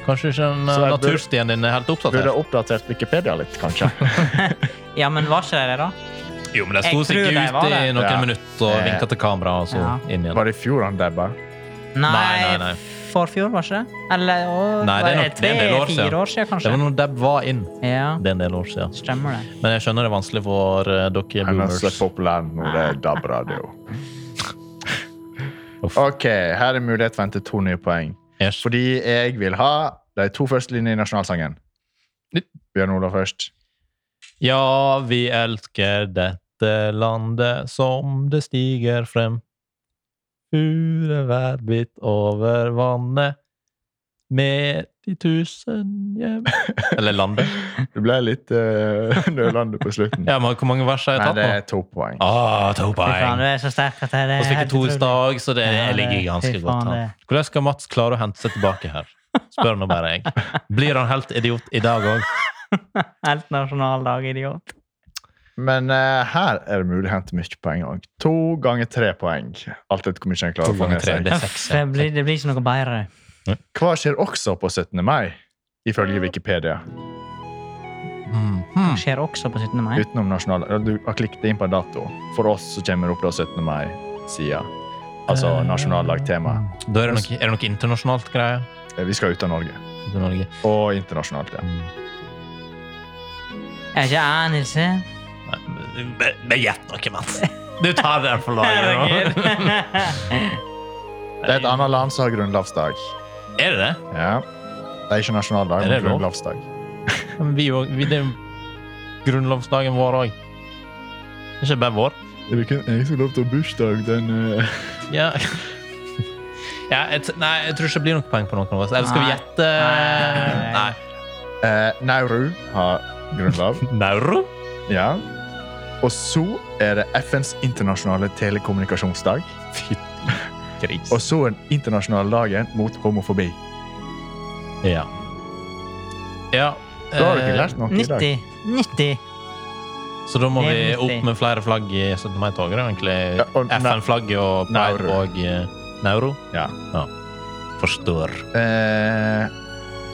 Speaker 3: Kanskje ikke den
Speaker 2: Så
Speaker 3: eh,
Speaker 2: jeg bur-
Speaker 3: naturstien din er helt oppdatert.
Speaker 2: Burde jeg oppdatert Wikipedia litt, kanskje?
Speaker 1: Ja, men var ikke det det, da?
Speaker 3: Jo, men de sto
Speaker 1: Jeg
Speaker 3: seg
Speaker 1: tror
Speaker 3: ikke
Speaker 1: de var
Speaker 3: ut i
Speaker 1: det.
Speaker 3: noen
Speaker 2: Ja.
Speaker 3: minutter og vinka til kamera, og så
Speaker 1: Ja.
Speaker 3: inn igjen.
Speaker 2: Var det i fjor han dabba?
Speaker 1: Nei,
Speaker 3: Nei, nei, nei.
Speaker 1: forfjor, var ikke det? Eller å,
Speaker 3: Nei, det er
Speaker 1: var
Speaker 3: nok- det er en del år
Speaker 1: tre-fire
Speaker 3: siden.
Speaker 1: år, siden,
Speaker 3: Det
Speaker 1: kanskje?
Speaker 3: var når Dab var inn.
Speaker 1: Ja,
Speaker 3: Det er en del år siden.
Speaker 1: stemmer det.
Speaker 3: Men jeg skjønner det er vanskelig for eh, dere
Speaker 2: Han er
Speaker 3: boomers.
Speaker 2: så populær når det er DAB-radio.
Speaker 3: Uff.
Speaker 2: OK, her er mulighet for å hente to nye poeng.
Speaker 3: Yes.
Speaker 2: Fordi jeg vil ha de to første linjene i nasjonalsangen. Bjørn Olav først.
Speaker 3: Ja, vi elsker dette landet som det stiger frem. Fure hver bit over vannet med de tusen hjem Eller landet.
Speaker 2: Du ble litt uh, nølende på slutten.
Speaker 3: Ja, men hvor mange vers har jeg
Speaker 2: Nei,
Speaker 3: tatt
Speaker 2: det
Speaker 3: nå?
Speaker 2: er to poeng.
Speaker 3: Ah, to
Speaker 1: Fy faen,
Speaker 3: poeng.
Speaker 1: du er så sterk at det er
Speaker 3: Og så fikk jeg
Speaker 1: helt
Speaker 3: to i
Speaker 1: utrolig.
Speaker 3: stad, så det
Speaker 1: Ja, det-
Speaker 3: ligger ganske
Speaker 1: fy faen,
Speaker 3: godt an.
Speaker 1: det-
Speaker 3: Hvordan skal Mats klare å hente seg tilbake her? Spør nå bare jeg. Blir han helt idiot i dag òg?
Speaker 1: Helt nasjonaldag, idiot.
Speaker 2: Men eh, her er det mulig å hente mye poeng òg. To ganger tre poeng. Alt etter hvor mye en klarer
Speaker 3: To
Speaker 2: å få
Speaker 3: ganger
Speaker 2: med
Speaker 3: tre,
Speaker 2: seg.
Speaker 3: det er seks.
Speaker 1: Det blir, det blir ikke noe bedre.
Speaker 2: Hva skjer også på 17. mai, ifølge Wikipedia?
Speaker 3: Mm. Mm.
Speaker 1: Skjer også på 17. mai.
Speaker 2: Utenom nasjonal... Du har klikket inn på en dato. For oss så kommer det opp da 17. mai-sida. Altså
Speaker 3: Eh.
Speaker 2: nasjonaldagtema.
Speaker 3: Da er det noe, er det noe internasjonalt greier.
Speaker 2: Eh, Vi skal ut av Norge.
Speaker 3: til Norge.
Speaker 2: Og internasjonalt, ja.
Speaker 1: Er ikke jeg, Nilse?
Speaker 3: Men gjett noe, Mats. Du tar den for laget. nå.
Speaker 2: Det er et annet land som har grunnlovsdag.
Speaker 3: Er det det?
Speaker 2: Ja. Det er ikke nasjonaldag,
Speaker 3: Er det
Speaker 2: men
Speaker 3: lov?
Speaker 2: grunnlovsdag.
Speaker 3: Men vi, jo- vi, det er jo grunnlovsdagen vår òg. Ikke bare vår.
Speaker 2: Det er kun jeg som lov til å ha bursdag den eh?
Speaker 3: Ja. Ja, jeg, t- nei, jeg tror ikke det blir noe poeng på noen av oss. Eller skal vi
Speaker 1: Nei.
Speaker 3: gjette
Speaker 1: Nei.
Speaker 3: Nei.
Speaker 2: Eh, Nauru har grunnlov.
Speaker 3: Nauro?
Speaker 2: Ja. Og så er det FNs internasjonale telekommunikasjonsdag.
Speaker 3: Fytti gris.
Speaker 2: Og så er den internasjonale dagen mot homofobi.
Speaker 3: Ja. ja.
Speaker 2: Da har du ikke
Speaker 3: eh,
Speaker 2: lært noe i dag.
Speaker 1: 90. 90.
Speaker 3: Så da må
Speaker 1: Det
Speaker 3: vi
Speaker 1: er
Speaker 3: opp
Speaker 1: viktig.
Speaker 3: med flere flagg i 17. mai-toget, da, egentlig.
Speaker 2: Ja, og na-
Speaker 3: FN-flagget og Pride
Speaker 2: Nauru.
Speaker 3: og eh, Nauro.
Speaker 2: Ja.
Speaker 3: Forstår.
Speaker 2: Eh,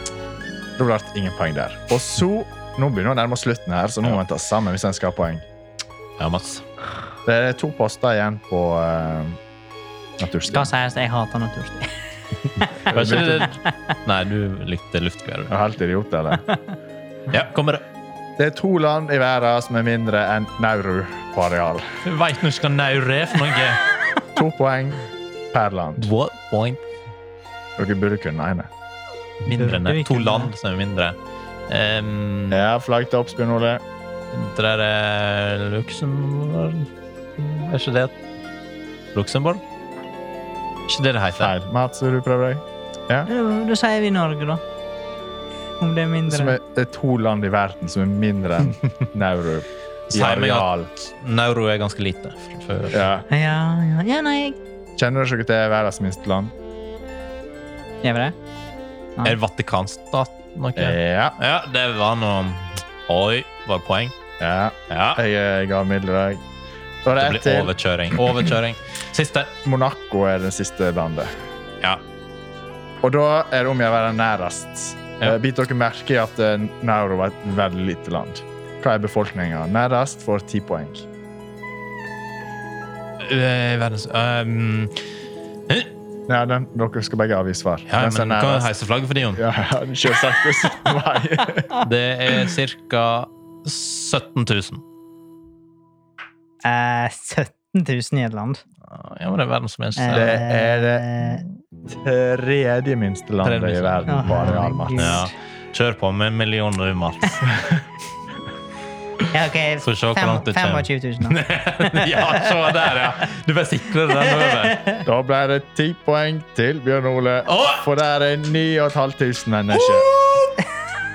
Speaker 2: det ble det ingen poeng der. Og så Nå begynner vi å nærme oss slutten, her, så nå må vi ta sammen hvis en skal ha poeng.
Speaker 3: Ja, Mats.
Speaker 2: Det er to poster igjen på eh, naturstien.
Speaker 1: Skal sies, jeg hater naturstid.
Speaker 3: Var ikke det Nei, du likte luftgevær.
Speaker 2: Er du helt idiot, eller?
Speaker 3: Ja, kommer det.
Speaker 2: Det er to land i verden som er mindre enn Nauru på areal.
Speaker 3: Du veit nå skal Nauru er for noe.
Speaker 2: To poeng per land.
Speaker 3: What point?
Speaker 2: Dere burde kunne ene.
Speaker 3: Mindre enn
Speaker 1: Det er
Speaker 3: det. To
Speaker 1: ikke-
Speaker 3: land som er mindre. Um,
Speaker 2: Ja, flagg til opp, Bjørn Ole.
Speaker 3: Det der er Luxembourg Er ikke det Luxembourg? Ikke det det heter?
Speaker 2: Feil. Mats, vil du prøve deg?
Speaker 1: Da- Da sier vi Norge, da. Om det er
Speaker 2: Som
Speaker 1: mindre.
Speaker 2: er, det er to land i verden som er mindre enn Nauru i
Speaker 3: Sier meg at-
Speaker 2: areal.
Speaker 3: Nauru er ganske lite. fra før.
Speaker 2: Ja.
Speaker 1: Ja, ja. ja nei, jeg
Speaker 2: Kjenner dere til verdens minste land?
Speaker 1: Gjør vi det?
Speaker 3: Er det Vatikanstat noe?
Speaker 2: Ja.
Speaker 3: Ja, det var noe Oi, var det poeng?
Speaker 2: ja.
Speaker 3: Ja.
Speaker 2: Jeg, jeg ga middeldag. Da er
Speaker 3: Det
Speaker 2: det ett
Speaker 3: blir
Speaker 2: til.
Speaker 3: overkjøring. Overkjøring. Siste.
Speaker 2: Monaco er det siste landet.
Speaker 3: Ja.
Speaker 2: Og da er det om jeg være nærest.
Speaker 3: Ja.
Speaker 2: Eh, Bit dere merke i at eh, Nauru var et veldig lite land. Hva er befolkninga? Nærest får ti poeng.
Speaker 3: Eh, Verdens um,
Speaker 2: Nei, den, dere skal begge avgi svar.
Speaker 3: Ja,
Speaker 2: Den
Speaker 3: men
Speaker 2: som er
Speaker 3: kan jo
Speaker 2: nærest-
Speaker 3: heise flagget for Dion.
Speaker 2: Ja, selvsagt. Det er 17. mai.
Speaker 3: Det er ca. 17 000.
Speaker 1: Eh, 17 000 i et land.
Speaker 3: Ja, men det er verdens minste.
Speaker 2: Det er det
Speaker 1: Eh,
Speaker 2: tredje minste landet
Speaker 3: Tredje
Speaker 2: i
Speaker 3: minste.
Speaker 2: verden.
Speaker 1: Å,
Speaker 2: Bare Almat.
Speaker 1: herregud.
Speaker 3: Ja. Kjør på med en million rømmer.
Speaker 1: Ja, ok.
Speaker 3: Får se hvor
Speaker 1: fem-
Speaker 3: langt det kommer.
Speaker 1: 25 000, da.
Speaker 3: ja, se der, ja. Du bare sikler den over.
Speaker 2: Da ble det ti poeng til Bjørn Ole.
Speaker 3: Åh!
Speaker 2: For der er 9500 mennesker.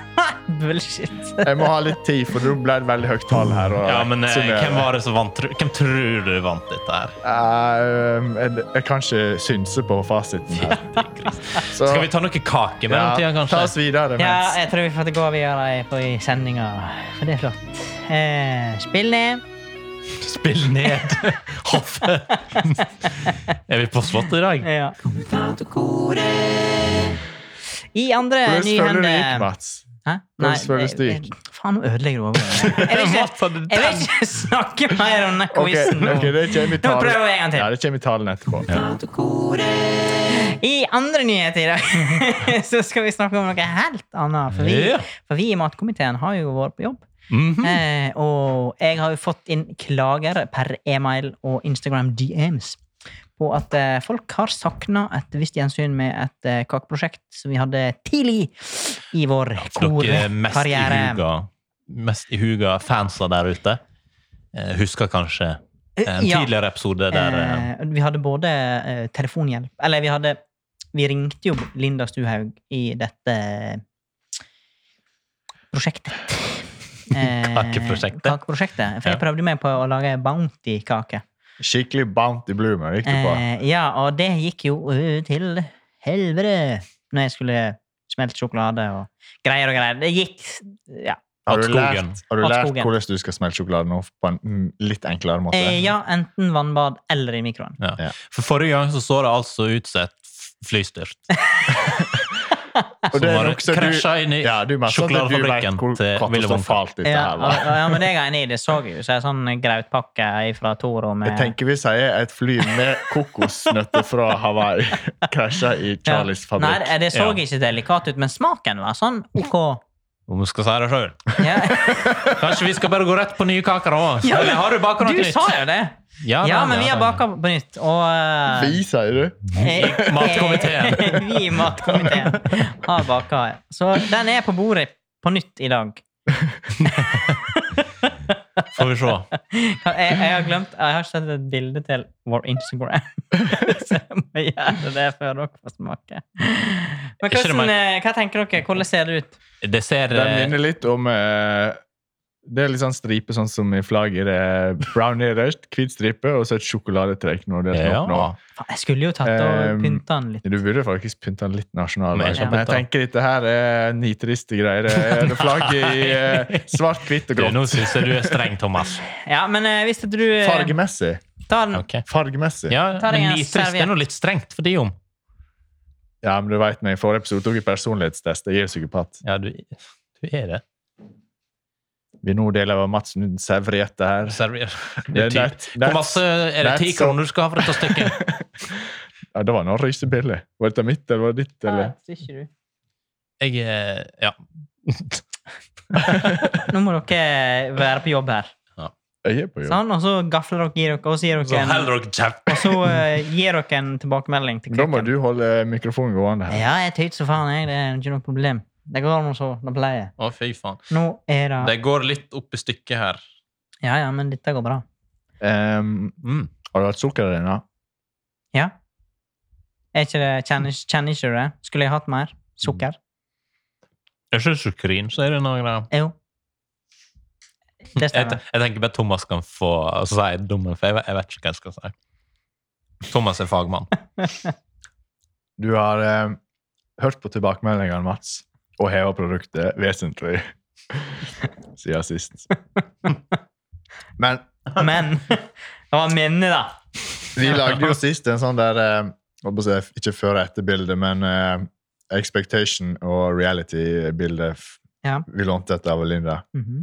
Speaker 1: Bullshit.
Speaker 2: Jeg må ha litt tid, for det ble et veldig høyt tall her. og-
Speaker 3: Ja, men eh,
Speaker 2: summere.
Speaker 3: hvem var det som vant? Hvem tror du vant dette her?
Speaker 2: Eh, jeg, jeg kan ikke synse på fasiten her. Så,
Speaker 3: Skal vi ta noe kake i mellomtida,
Speaker 2: ta oss
Speaker 3: kanskje?
Speaker 2: videre.
Speaker 1: Ja, eh,
Speaker 2: Mens.
Speaker 1: jeg tror vi får gå videre på i sendinga, for det er flott. Eh, spill ned.
Speaker 3: Spill ned hoffet. er vi på Slottet i dag?
Speaker 1: Ja. I andre
Speaker 2: Hvordan føler du det gikk,
Speaker 1: nyhende
Speaker 2: Mats?
Speaker 1: Hæ?
Speaker 2: Hvordan føles det
Speaker 1: jeg-
Speaker 2: gikk?
Speaker 1: jeg- eh, Faen, nå ødelegger du overgangen. Jeg vil ikke,
Speaker 3: Mats hadde
Speaker 1: jeg
Speaker 3: den.
Speaker 1: vil ikke snakke mer om denne
Speaker 2: Ok,
Speaker 1: quizen nå.
Speaker 2: ok, det kommer i
Speaker 1: Nå prøver vi en gang
Speaker 2: talen.
Speaker 1: til.
Speaker 2: Ja, det kommer i talen etterpå.
Speaker 1: I andre nyheter i dag så skal vi snakke om noe helt annet. For vi,
Speaker 3: Ja.
Speaker 1: for vi i matkomiteen har jo vært på jobb.
Speaker 3: Mhm.
Speaker 1: Eh, og jeg har jo fått inn klager per e-mail og Instagram DMs på at eh, folk har sakna et visst gjensyn med et eh, kakeprosjekt som vi hadde tidlig i vår
Speaker 3: Dere mest i
Speaker 1: korkarriere.
Speaker 3: huga, mest i huga fansa der ute eh, husker kanskje en
Speaker 1: Ja.
Speaker 3: tidligere episode der eh,
Speaker 1: Eh, vi hadde både eh, telefonhjelp Eller vi hadde Vi ringte jo Linda Stuhaug i eh, dette prosjektet. Eh,
Speaker 3: Kakeprosjektet.
Speaker 1: kakeprosjektet. For
Speaker 3: Ja.
Speaker 1: jeg prøvde meg på å lage Bounty-kake.
Speaker 2: Skikkelig Bounty Bloomer gikk du på.
Speaker 1: Eh, ja, og det gikk jo ø, til helvete når jeg skulle smelte sjokolade og greier og greier. Det gikk Ja.
Speaker 2: Har
Speaker 3: Hatt
Speaker 2: du
Speaker 3: skogen.
Speaker 2: lært, har du
Speaker 1: Hatt
Speaker 2: lært
Speaker 1: skogen.
Speaker 2: hvordan du skal smelte sjokolade nå på en mm, litt enklere måte?
Speaker 1: Eh, ja, enten vannbad eller i mikroen.
Speaker 3: Ja.
Speaker 2: Ja.
Speaker 3: For forrige gang så så det altså ut som et f- flystyrt.
Speaker 2: Og det
Speaker 3: Som
Speaker 2: er
Speaker 3: har
Speaker 2: nok så du-
Speaker 3: krasja inn i
Speaker 2: Ja, du merker at du vet
Speaker 3: sjokoladefabrikken
Speaker 2: hvor
Speaker 3: til Willy Wonka.
Speaker 2: katastrofalt dette
Speaker 1: Ja,
Speaker 2: her
Speaker 1: og-
Speaker 2: var.
Speaker 1: ja, men det er jeg enig i. Det så jo ut som en sånn grautpakke fra Toro med
Speaker 2: Jeg tenker vi sier et fly med kokosnøtter fra Hawaii krasja i Charlies
Speaker 1: Ja.
Speaker 2: fabrikk.
Speaker 1: Nei, eh, det så
Speaker 3: Ja.
Speaker 1: ikke delikat ut, men smaken var sånn OK.
Speaker 3: Om du skal si det sjøl.
Speaker 1: Ja.
Speaker 3: Kanskje vi skal bare gå rett på nye kaker òg?
Speaker 1: Ja, men
Speaker 3: Eller har du baka noe
Speaker 1: Du
Speaker 3: nytt?
Speaker 1: sa jo det!
Speaker 3: Ja,
Speaker 1: Ja,
Speaker 3: da,
Speaker 1: men vi
Speaker 3: ja,
Speaker 1: har
Speaker 3: da.
Speaker 1: baka på nytt, og eh,
Speaker 2: Vi, sier du?
Speaker 1: eh,
Speaker 3: matkomiteen.
Speaker 1: vi i matkomiteen har baka. Så den er på bordet på nytt i dag.
Speaker 3: Får vi se.
Speaker 1: Jeg, jeg har glemt Jeg har sett et bilde til vår Instagram, så jeg må gjøre det før dere får smake. Men
Speaker 3: Ikke det,
Speaker 1: hvordan,
Speaker 3: men-
Speaker 1: eh, hva tenker dere? Hvordan ser det ut?
Speaker 3: Det ser
Speaker 2: Den
Speaker 3: eh,
Speaker 2: minner litt om eh, Det er litt sånn stripe, sånn som i flagget. Det er brown nederst, hvit stripe og så et sjokoladetrekk. når det er
Speaker 3: ja.
Speaker 2: opp nå.
Speaker 1: Faen, Jeg skulle jo tatt og
Speaker 2: Ehm,
Speaker 1: pynta den litt.
Speaker 2: Du burde faktisk pynte den litt nasjonal.
Speaker 3: Men
Speaker 2: Men
Speaker 3: jeg skal
Speaker 2: jeg
Speaker 3: pynte den.
Speaker 2: tenker dette her er nitriste greier. Det er flagget i eh, svart, hvitt og
Speaker 3: Du,
Speaker 2: grått.
Speaker 3: Nå syns jeg du er streng, Thomas.
Speaker 1: Ja, men eh, hvis at du eh,
Speaker 2: Fargemessig.
Speaker 1: tar den
Speaker 3: Ok.
Speaker 2: Fargemessig.
Speaker 3: Ja,
Speaker 1: Ta deg
Speaker 3: men
Speaker 1: en
Speaker 3: nitrist
Speaker 1: serviett.
Speaker 3: er nå litt strengt for de om.
Speaker 2: Ja, men du vet meg, I forrige episode tok jeg personlighetstest. Jeg er jo psykopat.
Speaker 3: Ja, du, du er det.
Speaker 2: Vi nå deler av Mats serviette her.
Speaker 3: Server. Det
Speaker 2: Det
Speaker 3: er
Speaker 2: er
Speaker 3: typ.
Speaker 2: nett-
Speaker 3: Hvor
Speaker 2: nett-
Speaker 3: masse er det
Speaker 2: nett
Speaker 3: ti
Speaker 2: så-
Speaker 3: kroner du skal ha for dette stykket?
Speaker 2: Ja, det var noe rysepille. Var dette mitt, eller var det ditt? Eller?
Speaker 1: Nei, ikke du.
Speaker 3: Jeg eh, Ja.
Speaker 1: Nå må dere eh, være på jobb her.
Speaker 2: Jeg er på jobb.
Speaker 1: Sånn, og så gafler dere i dere, og så gir
Speaker 3: Så
Speaker 1: dere en,
Speaker 3: heller dere kjeft.
Speaker 1: og så, eh, gir dere en tilbakemelding til
Speaker 2: Da må
Speaker 1: kvikken.
Speaker 2: du holde mikrofonen gående her.
Speaker 1: Ja, jeg tyter så faen, jeg. Det er ikke noe problem. Det går nå så. Det pleier.
Speaker 3: Å, fy faen.
Speaker 1: Nå er det
Speaker 3: Det går litt opp i stykket her.
Speaker 1: Ja, ja, men dette går bra.
Speaker 2: Ehm,
Speaker 3: Mm.
Speaker 2: har du hatt sukker i denne?
Speaker 1: Ja. Er ikke det Kjenner ikke- kjenner ikke du det? Skulle jeg hatt mer? Sukker?
Speaker 3: Er ikke det sukkerin, så er det noe greier.
Speaker 1: Jo. Det
Speaker 3: Jeg,
Speaker 1: stemmer.
Speaker 3: te- jeg tenker bare Thomas kan få altså, si dumme, for jeg, vet- jeg vet ikke hva jeg skal si. Thomas er fagmann.
Speaker 2: Du har ehm, hørt på tilbakemeldingene, Mats, og heva produktet vesentlig siden sist. Men
Speaker 1: Men det var minnet, da.
Speaker 2: vi lagde jo sist en sånn der ehm, holdt på å si, Ikke før- og etterbilde, men ehm, expectation og reality-bilde. f-
Speaker 1: Ja.
Speaker 2: Vi lånte dette av Linda.
Speaker 1: Mhm.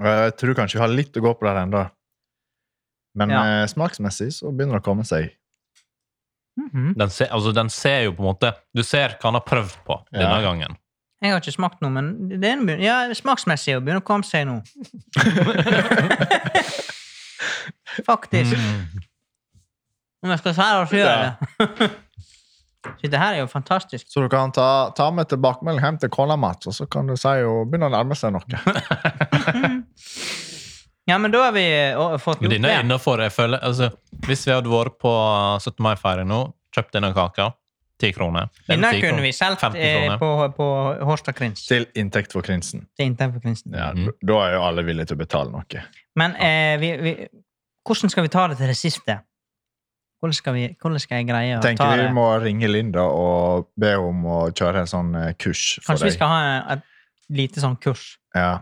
Speaker 2: Og jeg tror kanskje vi har litt å gå på der ennå. Men
Speaker 1: Ja.
Speaker 2: eh, smaksmessig så begynner det å komme seg.
Speaker 1: Mhm.
Speaker 3: Den, se, altså, den ser jo på en måte Du ser hva han har prøvd på denne
Speaker 2: Ja.
Speaker 3: gangen.
Speaker 1: Jeg har ikke smakt noe, men det er en begyn- ja, smaksmessig å begynne å komme seg nå. Faktisk.
Speaker 3: Mm.
Speaker 1: Om jeg skal si det, så gjør jeg det. Så det her er jo fantastisk.
Speaker 2: Så du kan ta, ta med tilbakemelding hjem til kona, Mats, og så kan du si hun begynner å nærme seg noe.
Speaker 1: Ja, men da har vi eh, fått
Speaker 3: Men
Speaker 1: gjort
Speaker 3: dine er
Speaker 1: det.
Speaker 3: innenfor, jeg føler altså, Hvis vi hadde vært på 17. mai-feiring nå, kjøpt denne kaka, 10 kroner Eller
Speaker 1: Denne
Speaker 3: 10
Speaker 1: kunne
Speaker 3: kroner.
Speaker 1: vi solgt
Speaker 3: 15
Speaker 1: eh,
Speaker 3: kroner.
Speaker 1: på, på Horstadkrins.
Speaker 2: Til inntekt for Krinsen.
Speaker 1: Til inntil for Krinsen.
Speaker 2: Ja,
Speaker 3: Mhm.
Speaker 2: Da er jo alle villige til å betale noe.
Speaker 1: Men eh, vi, vi, hvordan skal vi ta det til det siste? Hvordan skal, vi, hvordan skal jeg greie å ta
Speaker 2: Tenker
Speaker 1: det?
Speaker 2: Vi må ringe Linda og be henne om å kjøre en sånn eh, kurs for
Speaker 1: Kanskje vi
Speaker 2: deg.
Speaker 1: skal ha en- et lite sånn kurs?
Speaker 2: Ja.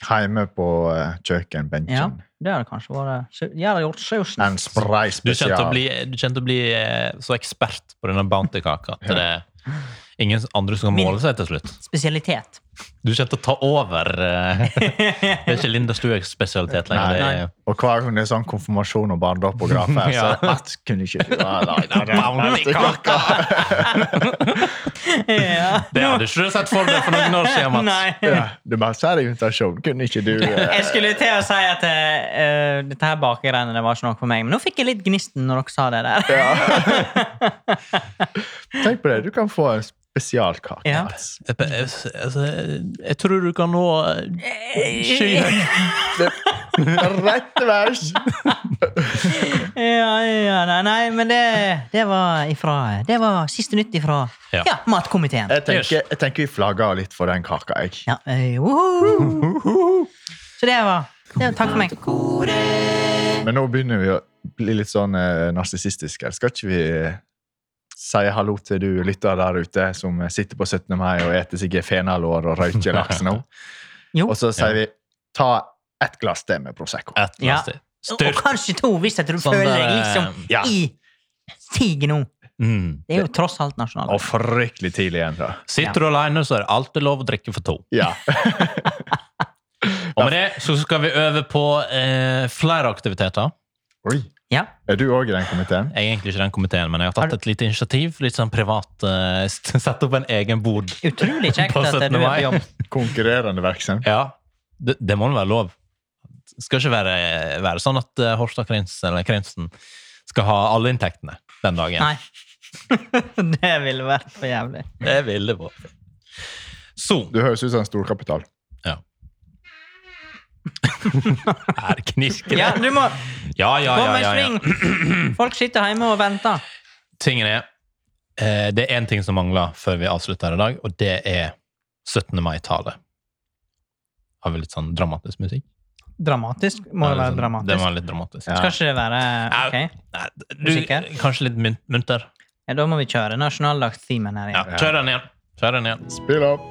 Speaker 2: Hjemme på eh,
Speaker 1: Ja,
Speaker 2: kjøkkenbenken.
Speaker 1: det hadde kanskje vært så- Jeg hadde gjort sausen.
Speaker 2: En spray
Speaker 3: Du kjente å
Speaker 2: spesial.
Speaker 3: bli, du kjente å bli eh, så ekspert på denne Bounty-kaka at det Ingen andre som kan
Speaker 1: Min-
Speaker 3: måle seg til slutt.
Speaker 1: Spesialitet.
Speaker 3: Du kommer til å ta over. eh, Det er ikke Linda Stueks spesialitet lenger.
Speaker 1: Nei.
Speaker 3: Det er-
Speaker 2: Og hver gang det er sånn konfirmasjon og barndåp og grafer, så
Speaker 3: Ja.
Speaker 2: at kunne ikke du ha lagd en bounty-kake?
Speaker 1: ja.
Speaker 3: Det hadde ikke du sett for deg for noen år siden. Mats.
Speaker 1: Nei.
Speaker 2: Ja, Du bare sier invitasjon. Kunne ikke du eh,
Speaker 1: Jeg skulle til å si at eh, eh, dette her bakegreiene det var ikke noe for meg, men nå fikk jeg litt gnisten når dere sa det der.
Speaker 2: Tenk på det, du kan få en spesialkake.
Speaker 1: Ja.
Speaker 2: Mats.
Speaker 3: Jeg, jeg, altså, jeg, jeg tror du kan nå eh, skyhøyt.
Speaker 2: Det- Rett til værs!
Speaker 1: Ja, ja, nei, nei, men det, det var ifra Det var siste nytt ifra ja.
Speaker 3: Ja.
Speaker 1: matkomiteen.
Speaker 2: Jeg tenker, jeg tenker vi flagger litt for den kaka, jeg.
Speaker 1: Ja, eh, woho! Så det var, det var Takk for meg.
Speaker 2: Men nå begynner vi å bli litt sånn eh, narsissistiske. Skal ikke vi eh, si hallo til du lytter der ute som sitter på 17. mai og eter seg fenalår og røyker laks nå?
Speaker 1: Jo.
Speaker 2: Og så sier vi ta ett glass til med Prosecco.
Speaker 3: Et
Speaker 1: Ja.
Speaker 3: neste.
Speaker 1: Og og
Speaker 3: Styrt.
Speaker 1: kanskje to, hvis at du
Speaker 3: Sånn
Speaker 1: føler
Speaker 3: der,
Speaker 1: deg
Speaker 3: eh,
Speaker 1: liksom
Speaker 2: ja.
Speaker 1: i siget nå.
Speaker 3: Mm.
Speaker 1: Det er jo tross alt nasjonalt.
Speaker 2: Og fryktelig tidlig igjen, da.
Speaker 3: Sitter du alene, så er det alltid lov å drikke for to.
Speaker 2: Ja.
Speaker 3: Og med det så skal vi øve på eh, flere aktiviteter.
Speaker 2: Oi.
Speaker 1: Ja.
Speaker 2: Er du òg i den komiteen?
Speaker 3: Jeg er egentlig ikke den komiteen, men jeg har tatt et lite initiativ. Litt sånn privat. Eh, Sette opp en egen bod.
Speaker 1: Utrolig kjekt
Speaker 3: På
Speaker 1: at du er
Speaker 3: 17.
Speaker 1: på
Speaker 3: mai.
Speaker 1: jobb.
Speaker 2: Konkurrerende virksomhet?
Speaker 3: Ja, det, det må da være lov. Det skal ikke være, være sånn at eh, Horstad Krins- eller Krensen skal ha alle inntektene den dagen.
Speaker 1: Nei. det ville vært for jævlig.
Speaker 3: Det ville vært Så
Speaker 2: Du høres ut som en storkapital.
Speaker 3: Ja. Her knirker det.
Speaker 1: Ja, du må
Speaker 3: Ja, ja, ja.
Speaker 1: komme i
Speaker 3: ja, ja.
Speaker 1: sving! Folk sitter hjemme og venter.
Speaker 3: Tingen er eh, Det er én ting som mangler før vi avslutter i dag, og det er 17. mai-tale. Har vi litt sånn dramatisk musikk?
Speaker 1: Dramatisk må
Speaker 3: Ja,
Speaker 1: det være
Speaker 3: litt sånn-
Speaker 1: dramatisk.
Speaker 3: Det var litt dramatisk.
Speaker 2: Ja.
Speaker 1: Skal ikke det være ok?
Speaker 3: Nei, du,
Speaker 1: Musikk her?
Speaker 3: kanskje litt mun- munter?
Speaker 1: Ja, da må vi kjøre nasjonaldagsteamen her
Speaker 3: Ja,
Speaker 1: igjen.
Speaker 3: kjør den igjen. Kjør den igjen.
Speaker 2: Spill opp!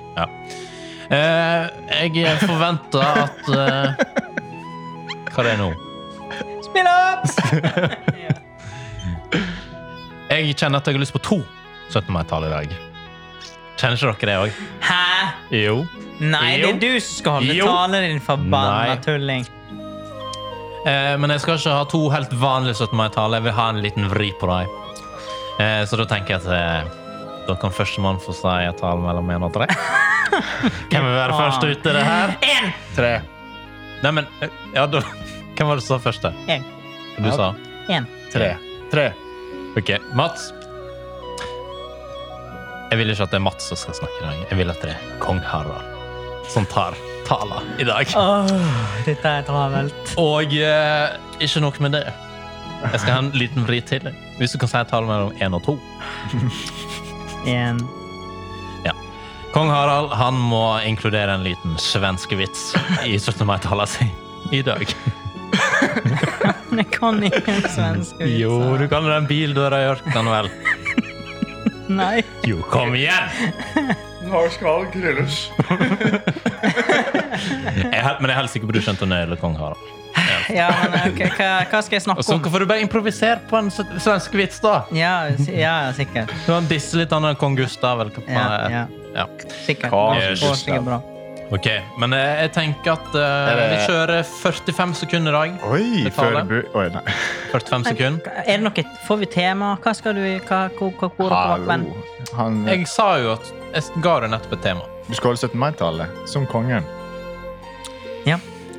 Speaker 3: Eh, jeg forventer at eh, Hva er det nå?
Speaker 1: Spill opp! ja.
Speaker 3: Jeg kjenner at jeg har lyst på to 17. mai-tall i dag. Kjenner ikke dere det òg?
Speaker 1: Hæ?
Speaker 3: Jo.
Speaker 1: Nei, det
Speaker 3: Jo.
Speaker 1: er du som skal holde
Speaker 3: Jo.
Speaker 1: talen din, forbanna
Speaker 3: Nei.
Speaker 1: tulling.
Speaker 3: Eh, men jeg skal ikke ha to helt vanlige 17. mai-taler. Jeg vil ha en liten vri på dem. Eh, så da tenker jeg at eh, da kan førstemann få si et tall mellom én og tre. Hvem vil være først ute i det her?
Speaker 1: Én!
Speaker 2: Tre.
Speaker 3: Nei, men eh, ja, da, Hvem var det som sa først? da?
Speaker 1: Jeg.
Speaker 3: Du sa?
Speaker 1: Én.
Speaker 2: Tre. Tre.
Speaker 3: Ok, Mats. Jeg vil ikke at det er Mats som skal snakke i dag. Jeg vil at det er kong Harald som tar tala i dag.
Speaker 1: Åh, dette er travelt.
Speaker 3: Og eh, ikke nok med det. Jeg skal ha en liten vri til. Hvis du kan si tallet mellom én og to.
Speaker 1: Én.
Speaker 3: Kong Harald han må inkludere en liten svensk vits i 17. mai-tala si i dag.
Speaker 1: Men jeg kan ingen svenske vitser.
Speaker 3: Jo, du kan den bildøra i ørkenen, vel.
Speaker 1: Nei.
Speaker 3: Jo, kom igjen!
Speaker 2: Norsk valgkryllush.
Speaker 3: Jeg, er helt- men jeg er helt sikker på at du skjønte når det gjelder kong Harald.
Speaker 1: Ja, men eh, ok, hva, hva skal jeg
Speaker 3: Og
Speaker 1: snakke
Speaker 3: så
Speaker 1: om?
Speaker 3: får du bare improvisere på en s- svensk vits, da.
Speaker 1: Ja, si- ja sikkert.
Speaker 3: Du har disset litt annet enn kong Gustav. Eller hva
Speaker 1: Ja,
Speaker 3: faen
Speaker 1: ja.
Speaker 3: er- ja.
Speaker 1: Sikkert.
Speaker 2: Hva
Speaker 1: Det
Speaker 3: er
Speaker 1: går
Speaker 2: det?
Speaker 1: sikkert bra.
Speaker 3: Ok, men eh, jeg tenker at eh,
Speaker 2: Er
Speaker 3: vi
Speaker 2: det-
Speaker 3: kjører 45 sekunder i dag.
Speaker 2: Oi,
Speaker 3: Betale.
Speaker 2: før bu... Oi, nei.
Speaker 3: 45 sekunder.
Speaker 1: Er det noe, får vi tema? Hva skal du i? Hva, hvor, hvor, hvor, hvor, hvor,
Speaker 2: Hallo. Han,
Speaker 3: Jeg sa jo at jeg ga deg nettopp et tema.
Speaker 2: du skal holde 17. mai-tallet som kongen.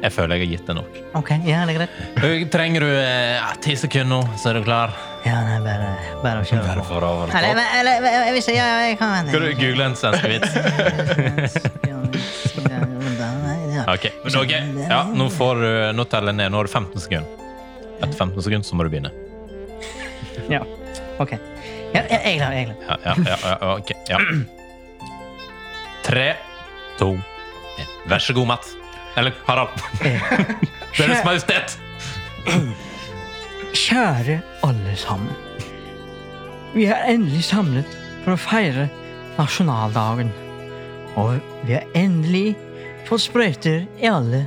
Speaker 3: Jeg føler jeg har gitt det nok.
Speaker 1: Ok, ja, det er greit.
Speaker 3: Og Trenger du eh, 10 sekunder nå, så er du klar?
Speaker 1: Ja, nei, bare, bare å kjøre
Speaker 3: Bare
Speaker 1: på.
Speaker 3: for over
Speaker 1: Eller,
Speaker 3: topp.
Speaker 1: eller, eller jeg vil si, ja, ja, jeg kan
Speaker 3: Skal du google en svensk vits?
Speaker 1: google?
Speaker 3: Ok, men ok. Ja, nå, får du, nå teller jeg ned. Nå har du 15 sekunder. Etter 15 sekunder så må du begynne.
Speaker 1: Ja, ok. Ja, jeg jeg er klar, jeg er klar.
Speaker 3: Ja, ja, ja, ja, ok. Ja. Tre, to, en. Vær så god, Matt. Eller Harald. Deres Majestet.
Speaker 1: Kjære alle sammen. Vi er endelig samlet for å feire nasjonaldagen. Og vi har endelig fått sprøyter i alle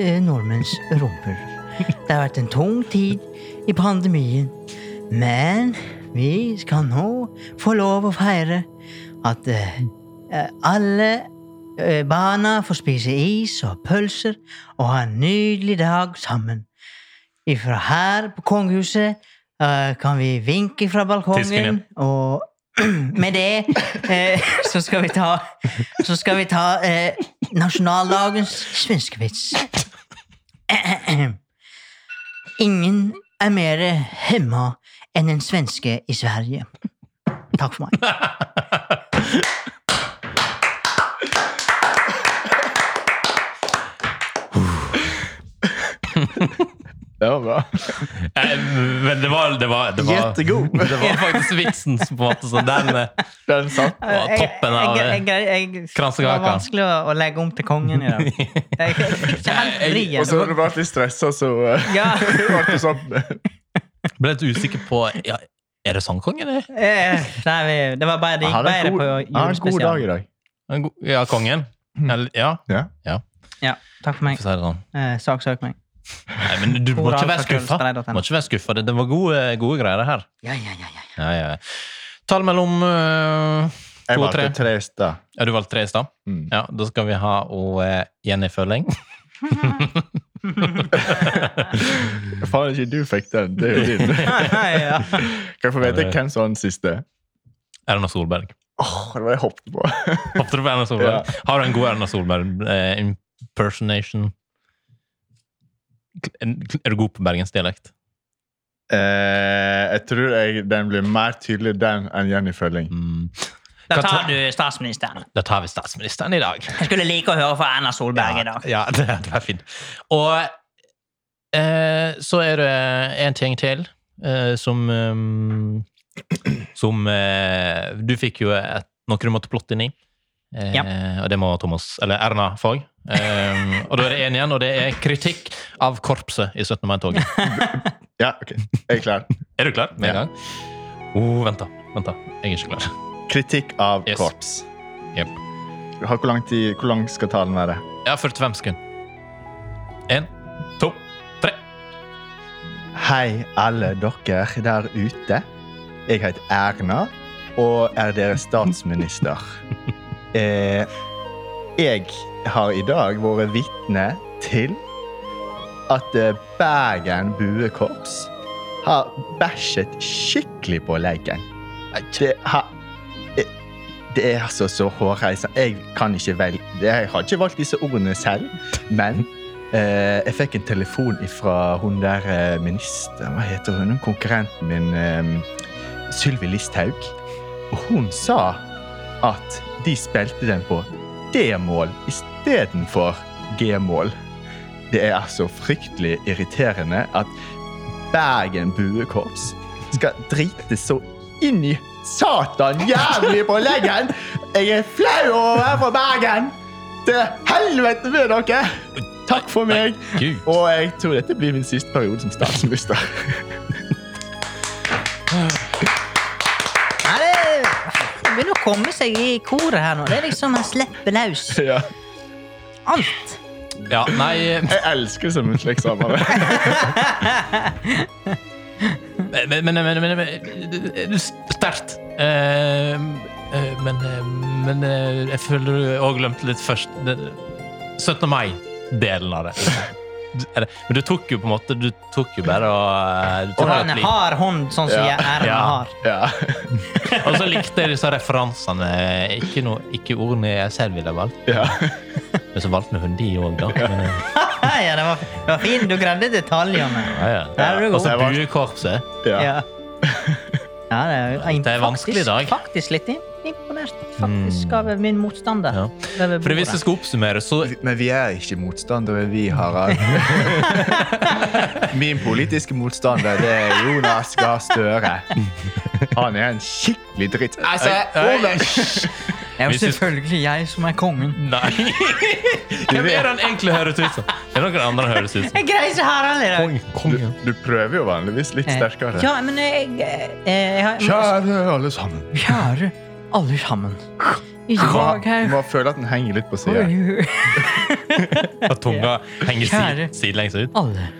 Speaker 1: eh, nordmenns rumper. Det har vært en tung tid i pandemien, men vi skal nå få lov å feire at eh, eh, alle eh, barna får spise is og pølser og ha en nydelig dag sammen. Ifra her på kongehuset eh, kan vi vinke fra
Speaker 3: Tisken
Speaker 1: balkongen,
Speaker 3: igjen.
Speaker 1: og med det eh, så skal vi ta, så skal vi ta eh, nasjonaldagens svenskevits. Ingen er mer hemma enn en svenske i Sverige. Takk for meg.
Speaker 2: Det var bra.
Speaker 3: Eh, Men det var, det var, det var
Speaker 2: Jättegod.
Speaker 3: Det var faktisk vitsen som på en måte så den eh,
Speaker 2: Den satt.
Speaker 3: var toppen av
Speaker 1: jeg, jeg,
Speaker 3: eh,
Speaker 1: jeg, jeg, Det
Speaker 3: kransekaka.
Speaker 1: var vanskelig å, å legge om til kongen i dag. Jeg, jeg fikk ikke helt
Speaker 3: Jeg-
Speaker 2: Og så
Speaker 1: vrien.
Speaker 2: har du vært litt stressa, så eh,
Speaker 1: Ja.
Speaker 2: ble det sånn.
Speaker 3: Ble litt usikker på ja, Er det sangkongen, eller?
Speaker 1: Eh, Nei, vi- det var bare det
Speaker 2: Han
Speaker 1: gikk
Speaker 2: hadde en
Speaker 1: bedre på
Speaker 2: god- han hadde en god dag
Speaker 1: julespesialen.
Speaker 2: i dag.
Speaker 3: En go- Ja, kongen? Eller, ja,
Speaker 2: Ja.
Speaker 1: Ja, takk for meg.
Speaker 3: for å si det sånn.
Speaker 1: Eh, Saksøk meg.
Speaker 3: Nei, men du må ikke være skuffa. Du Må
Speaker 1: Moralforkjølelsesspray.no.
Speaker 3: ikke være skuffa. Det, det var gode, gode greier, det her.
Speaker 1: Ja, ja, ja, ja.
Speaker 3: Ja, ja. Tall mellom eh,
Speaker 2: Jeg
Speaker 3: to og tre.
Speaker 2: valgte tre i stad.
Speaker 3: Ja, du valgte tre i stad?
Speaker 2: Mm.
Speaker 3: Ja, da skal vi ha og, eh, Jenny Følling.
Speaker 2: Faen ikke du fikk den. Det er jo din.
Speaker 1: ja.
Speaker 2: Kan jeg få vite hvem som var den siste?
Speaker 3: Erna Solberg.
Speaker 2: Åh, det var det jeg hoppet på.
Speaker 3: Hoppet du på Erna Solberg? Har du en god Erna Solberg eh, impersonation? Er du god på bergensdialekt?
Speaker 2: Eh, jeg tror jeg, den blir mer tydelig den enn Jenny Følling.
Speaker 3: Mm.
Speaker 1: Da
Speaker 3: Hva
Speaker 1: tar
Speaker 3: ta-
Speaker 1: du statsministeren.
Speaker 3: Da tar vi statsministeren i dag.
Speaker 1: Jeg skulle like å høre fra Erna Solberg i
Speaker 3: ja,
Speaker 1: dag.
Speaker 3: ja, det hadde vært fint. Og eh, så er det en ting til eh, som eh, Som eh, Du fikk jo et, noe du måtte plotte inn i. Eh, Og det må Thomas, eller Erna få. Eh, og da er det én igjen, og det er kritikk av korpset i 17. mai-toget.
Speaker 2: Ja, ok. Jeg er klar.
Speaker 3: Er du klar? Med en
Speaker 2: Ja.
Speaker 3: gang? Oh, vent, da. vent da. Jeg er ikke klar.
Speaker 2: Kritikk av
Speaker 3: Yes.
Speaker 2: korps.
Speaker 3: Jep.
Speaker 2: Ha- Hvor lang, tid, hvor lang skal talen være?
Speaker 3: Jeg har 45 sekunder. Én, to, tre.
Speaker 2: Hei, alle dere der ute. Jeg heter Erna og er deres statsminister. Eh, jeg har i dag vært vitne til at eh, Bergen buekorps har bæsjet skikkelig på leggen. Det har eh, det er altså så hårreisende. Jeg kan ikke velge Jeg har ikke valgt disse ordene selv, men Eh, jeg fikk en telefon fra hun der eh, ministeren, hva heter hun, Hun konkurrenten min, eh, Sylvi Listhaug. Og hun sa at de spilte den på D-mål istedenfor G-mål. Det er altså fryktelig irriterende at Bergen Buekorps skal drite så inn i satan jævlig på leggen! Jeg er flau over å være fra Bergen! Til helvete med dere! Takk for meg!
Speaker 3: Gud.
Speaker 2: Og jeg tror dette blir min siste periode som statsminister.
Speaker 1: Ja, det det begynner å komme seg i koret her nå. Det er liksom han slipper løs
Speaker 2: ja.
Speaker 1: alt.
Speaker 3: Ja, nei
Speaker 2: Jeg elsker som en slags samarbeid.
Speaker 3: Men, men, men, men, men, men Sterkt. Eh, eh, men, eh, men eh, jeg føler du òg glemte litt først det- 17. mai-delen av det. Du- er det- Men du tok jo på en måte Du tok jo bare og eh, du
Speaker 1: Og
Speaker 3: tok
Speaker 1: han
Speaker 3: et
Speaker 1: er
Speaker 3: liv.
Speaker 1: hard hånd, sånn som
Speaker 2: Ja.
Speaker 1: Erna
Speaker 3: Ja.
Speaker 1: har.
Speaker 2: Ja.
Speaker 3: Og så likte jeg disse referansene. Ikke, noe, ikke ordene jeg selv ville valgt,
Speaker 2: ja.
Speaker 3: men så valgte vi hundi òg, da. Men, eh,
Speaker 1: ja, det var, det var fint. Du greide detaljene.
Speaker 3: ja, ja.
Speaker 1: Der er du
Speaker 3: Og så
Speaker 1: god.
Speaker 2: valgt-
Speaker 3: buekorpset.
Speaker 2: ja.
Speaker 1: Ja. Ja, det er, jo-
Speaker 3: Det er en vanskelig
Speaker 1: faktisk,
Speaker 3: dag.
Speaker 1: Faktisk litt imponert faktisk av min motstander.
Speaker 3: Ja.
Speaker 1: Over
Speaker 3: For hvis jeg
Speaker 1: bordet.
Speaker 3: skal oppsummere, så
Speaker 2: Men vi er ikke motstandere, vi, Harald. Min politiske motstander det er Jonas Gahr Støre. Han er en skikkelig dritt... Altså, Ole, hysj!
Speaker 1: Det er jo
Speaker 3: hvis jeg-
Speaker 1: selvfølgelig jeg som er kongen.
Speaker 3: Nei! Hvem er det han egentlig høres ut som? Det er noen andre han høres ut som.
Speaker 1: Jeg greier ikke Harald i dag.
Speaker 2: Du, du prøver jo vanligvis litt sterkere.
Speaker 1: Eh. Ja, men jeg, jeg, eh, jeg, har-
Speaker 2: Kjære alle sammen.
Speaker 1: Kjære alle sammen. I dag
Speaker 2: Du
Speaker 1: her
Speaker 2: må føle at den henger litt på sida.
Speaker 3: At tunga henger
Speaker 1: Kjære.
Speaker 3: sid, sidelengs ut.
Speaker 1: Alle.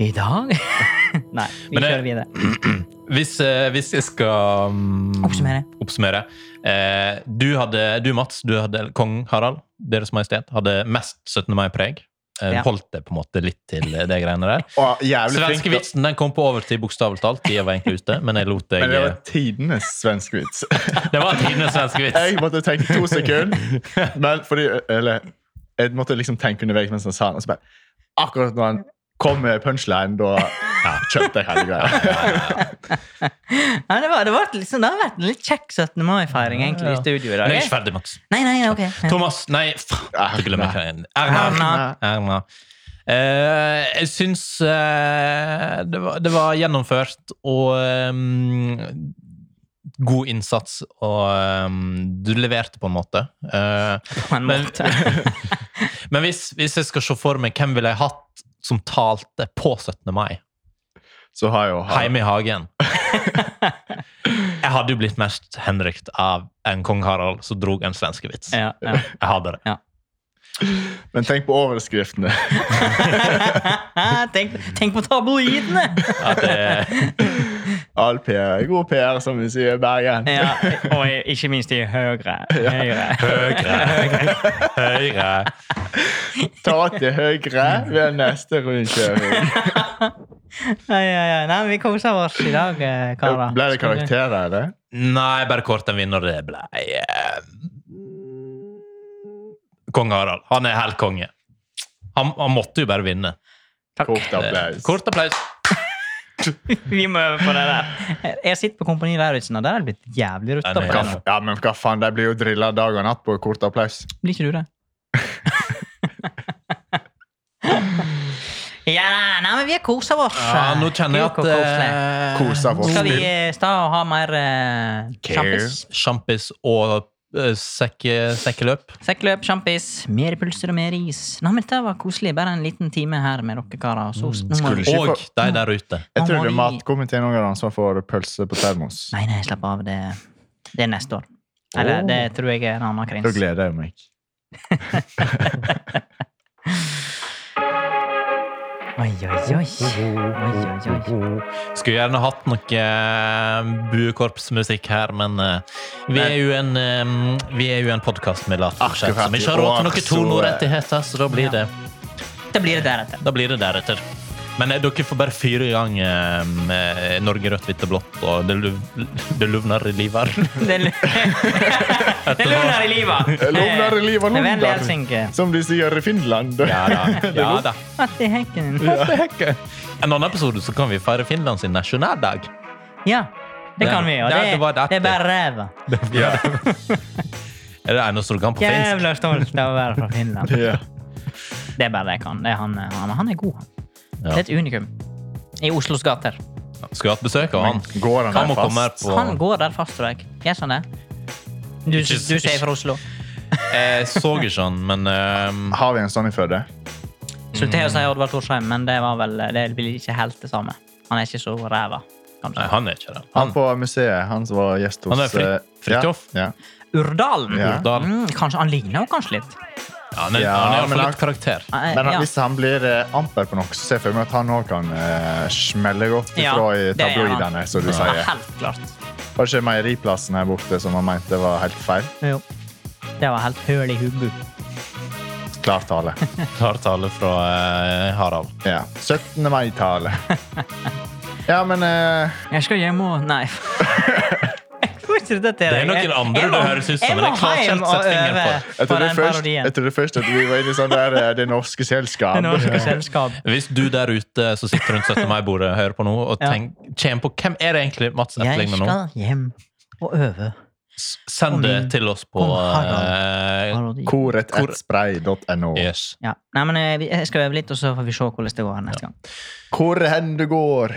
Speaker 1: I dag Nei, vi
Speaker 3: Men det-
Speaker 1: kjører videre.
Speaker 3: Hvis, eh, hvis jeg skal mm,
Speaker 1: Oppsummere.
Speaker 3: oppsummere. Eh, du, hadde, du, Mats, du hadde, eller kong Harald, Deres Majestet, hadde mest 17. mai-preg. Eh,
Speaker 1: Ja.
Speaker 3: Holdt det på en måte litt til eh, det greiene der.
Speaker 2: Å, jævlig flink. da.
Speaker 3: Svenskevitsen den kom på overtid, bokstavelig talt. Tida var egentlig ute, men jeg lot deg eh,
Speaker 2: Men det var tidenes svensk vits.
Speaker 3: Det var tidenes svenskevits.
Speaker 2: Jeg måtte tenke to sekunder. Men fordi, eller, jeg måtte liksom tenke underveis mens han sa den. Og så bare, akkurat når han kom med punchline, da kjøpte jeg hele greia.
Speaker 1: Nei, det, var, det, var liksom, det har vært en litt kjekk 17. mai-feiring egentlig i studio i
Speaker 3: Men
Speaker 1: dag.
Speaker 3: jeg er ikke ferdig, Mats.
Speaker 1: Nei, nei, ok. Ja.
Speaker 3: Thomas Nei, faen! Jeg glemmer hva jeg Erna.
Speaker 1: Erna.
Speaker 3: Erna. Eh, jeg syns eh, det, var, det var gjennomført og ehm, god innsats, og ehm, du leverte på en måte. Eh,
Speaker 1: På en
Speaker 3: Men-
Speaker 1: måte.
Speaker 3: men hvis, hvis jeg skal se for meg hvem ville jeg hatt som talte på 17. mai,
Speaker 2: Så har jeg jo han,
Speaker 3: hjemme i hagen Jeg hadde jo blitt mest henrykt av en kong Harald som drog en svenskevits.
Speaker 1: Ja, ja.
Speaker 3: Jeg hadde det.
Speaker 2: Men tenk på overskriftene.
Speaker 1: tenk, tenk på tabloidene!
Speaker 3: At det,
Speaker 2: All PR, god PR, som vi sier i Bergen.
Speaker 1: Ja, og i- ikke minst i Høyre. Høyre.
Speaker 3: Høyre, høyre.
Speaker 2: Ta til høyre ved neste rundkjøring.
Speaker 1: Ai, ai, ai. Nei, men vi koser oss i dag, eh, karer.
Speaker 2: Ble det karakterer, eller?
Speaker 3: Nei, bare kort en vinner. Det ble eh, Kong Harald. Han er helt konge. Han, han måtte jo bare vinne.
Speaker 2: Kort
Speaker 3: Eh,
Speaker 2: applaus.
Speaker 3: Kort applaus.
Speaker 1: Vi må øve på det der. Jeg sitter på Kompani Lauritzen, og der er det blitt jævlig rutta på.
Speaker 3: Nei,
Speaker 1: det
Speaker 2: Hva,
Speaker 1: nå.
Speaker 2: f- ja, men hva faen, de blir jo drilla dag og natt på kort applaus.
Speaker 1: Blir ikke du det? ja, nei, men vi har kosa oss.
Speaker 3: Ja, nå kjenner jeg
Speaker 1: Kuk og koselig.
Speaker 3: at eh,
Speaker 2: Kos av oss.
Speaker 1: Skal vi eh, sta og ha mer eh,
Speaker 2: Care.
Speaker 1: sjampis?
Speaker 3: Sjampis og eh, sekke, sekkeløp.
Speaker 1: Sekkløp, sjampis, mer pulser og mer is. Nei, men Dette var koselig. Bare en liten time her med dere karer. og Så, nå må
Speaker 2: Skulle
Speaker 1: vi-
Speaker 2: ikke
Speaker 3: Og de der ute.
Speaker 2: Jeg tror
Speaker 1: Mamma
Speaker 2: det er
Speaker 1: mi.
Speaker 2: matkomiteen også har ansvar for pølse på termos.
Speaker 1: Nei, nei, slapp av. Det, det er neste år. Eller
Speaker 2: Åh.
Speaker 1: det tror jeg er en annen
Speaker 2: Da
Speaker 1: krins.
Speaker 2: gleder jeg meg.
Speaker 1: Oi, oi, oi. oi, oi, oi.
Speaker 3: Skulle gjerne hatt noe eh, buekorpsmusikk her, men eh, vi er jo en, eh, vi er jo en podkast med latterbudsjett,
Speaker 2: Akkurat,
Speaker 3: så vi ikke har råd til noen
Speaker 2: og så, eh,
Speaker 3: tonorettigheter, så da blir det,
Speaker 1: Det blir det deretter.
Speaker 3: da blir det deretter. Men eh, dere får bare fyre i gang eh, eh, Norge rødt, hvitt og blått og det, luv, det luvner i livet.
Speaker 1: Det er det er lunar i livet.
Speaker 2: Lunar i livet,
Speaker 1: Det er vennlig
Speaker 2: lunar.
Speaker 1: Helsinki.
Speaker 2: Som de sier i Finland.
Speaker 3: Ja da. ja da.
Speaker 1: At i hekken.
Speaker 3: En annen episode så kan vi feire Finland sin nasjonaldag.
Speaker 1: Ja, det kan vi. Og
Speaker 3: Ja,
Speaker 1: det,
Speaker 3: det var det.
Speaker 1: det er bare ræva.
Speaker 2: Ja.
Speaker 3: Er det eneste du kan på finsk?
Speaker 1: Jævla stolt av å være fra Finland.
Speaker 2: Ja.
Speaker 1: Det er bare det jeg kan. Det er han, han, han er god, han. Det
Speaker 3: Ja.
Speaker 1: er et unikum. I Oslos gater.
Speaker 3: Skulle hatt besøk av han.
Speaker 2: Går han
Speaker 3: Han
Speaker 2: der
Speaker 3: må komme her
Speaker 2: fast?
Speaker 3: på
Speaker 1: Han går der fast, tror jeg. Gjør han det? Du, du
Speaker 3: Ikke-
Speaker 1: sier fra Oslo.
Speaker 3: Jeg så ikke han, men eh,
Speaker 2: Har vi en sånn i Førde?
Speaker 1: Slutter jeg å si Oddvar Torsheim, men det, var vel, det blir ikke helt det samme. Han er ikke så ræva,
Speaker 3: Nei,
Speaker 1: kanskje.
Speaker 3: han er ikke det.
Speaker 1: Ah,
Speaker 2: Han
Speaker 3: Han,
Speaker 2: på museet. Han som var gjest hos
Speaker 3: Han er Fri-
Speaker 2: eh,
Speaker 3: Fridtjof.
Speaker 2: Ja.
Speaker 1: Urdalen?
Speaker 2: Ja.
Speaker 3: Urdal.
Speaker 1: Mm, kanskje, han ligner jo kanskje litt.
Speaker 3: han er,
Speaker 2: Ja,
Speaker 3: han er i hvert
Speaker 2: men
Speaker 3: fall
Speaker 2: han-
Speaker 3: litt karakter.
Speaker 1: Eh,
Speaker 2: Men han,
Speaker 1: ja.
Speaker 2: hvis han blir eh, amper på noe, så ser jeg for meg at han òg kan eh, smelle godt
Speaker 1: Ja,
Speaker 2: ifra i
Speaker 1: det er han.
Speaker 2: tabloidene, som du
Speaker 1: Ja,
Speaker 2: sier.
Speaker 1: helt klart.
Speaker 2: Var det ikke Meieriplassen her borte som han mente var helt feil?
Speaker 1: Jo. Det var helt høl i hubu.
Speaker 2: Klar tale.
Speaker 3: Tar tale fra eh, Harald.
Speaker 2: Ja. 17. mai-tale. Ja, men eh,
Speaker 1: Jeg skal hjem og Nei. Jeg får ikke dette til.
Speaker 3: Det er
Speaker 1: Jeg-
Speaker 3: noen andre
Speaker 1: jeg må-
Speaker 3: det høres ut som,
Speaker 1: jeg
Speaker 3: men jeg
Speaker 1: må
Speaker 3: klarer ikke
Speaker 1: hjem
Speaker 3: helt å sette
Speaker 1: og
Speaker 3: fingeren på
Speaker 1: øve
Speaker 3: det.
Speaker 2: jeg
Speaker 1: på
Speaker 2: trodde
Speaker 1: den
Speaker 2: først,
Speaker 1: parodien.
Speaker 2: jeg trodde først at vi var inne i sånn der eh, Det norske selskap.
Speaker 1: Det norske selskap.
Speaker 3: Hvis du der ute som sitter rundt 17. mai-bordet hører på nå og
Speaker 1: Ja.
Speaker 3: tenk, kjem på hvem er det egentlig Mats
Speaker 1: Jeg
Speaker 3: etterligner nå,
Speaker 1: skal hjem og øve.
Speaker 3: S- send det
Speaker 1: Kom inn.
Speaker 3: til oss på
Speaker 1: Kom,
Speaker 3: eh,
Speaker 1: Parodi.
Speaker 2: Koret.spray.no.
Speaker 3: yes.
Speaker 1: Ja. Nei, men eh, vi- jeg skal øve litt, og så får vi se hvordan det går neste gang.
Speaker 2: Hvor hen du går,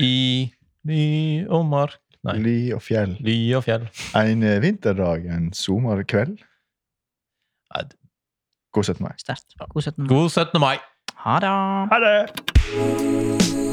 Speaker 3: I Ny og mark Nei.
Speaker 2: li og fjell.
Speaker 3: Ly og fjell.
Speaker 2: En eh, vinterdag, en sommerkveld.
Speaker 3: Nei, d-
Speaker 2: God 17. mai.
Speaker 1: Sterkt. God 17. mai.
Speaker 3: God 17. mai!
Speaker 1: Ha det!
Speaker 2: Ha det!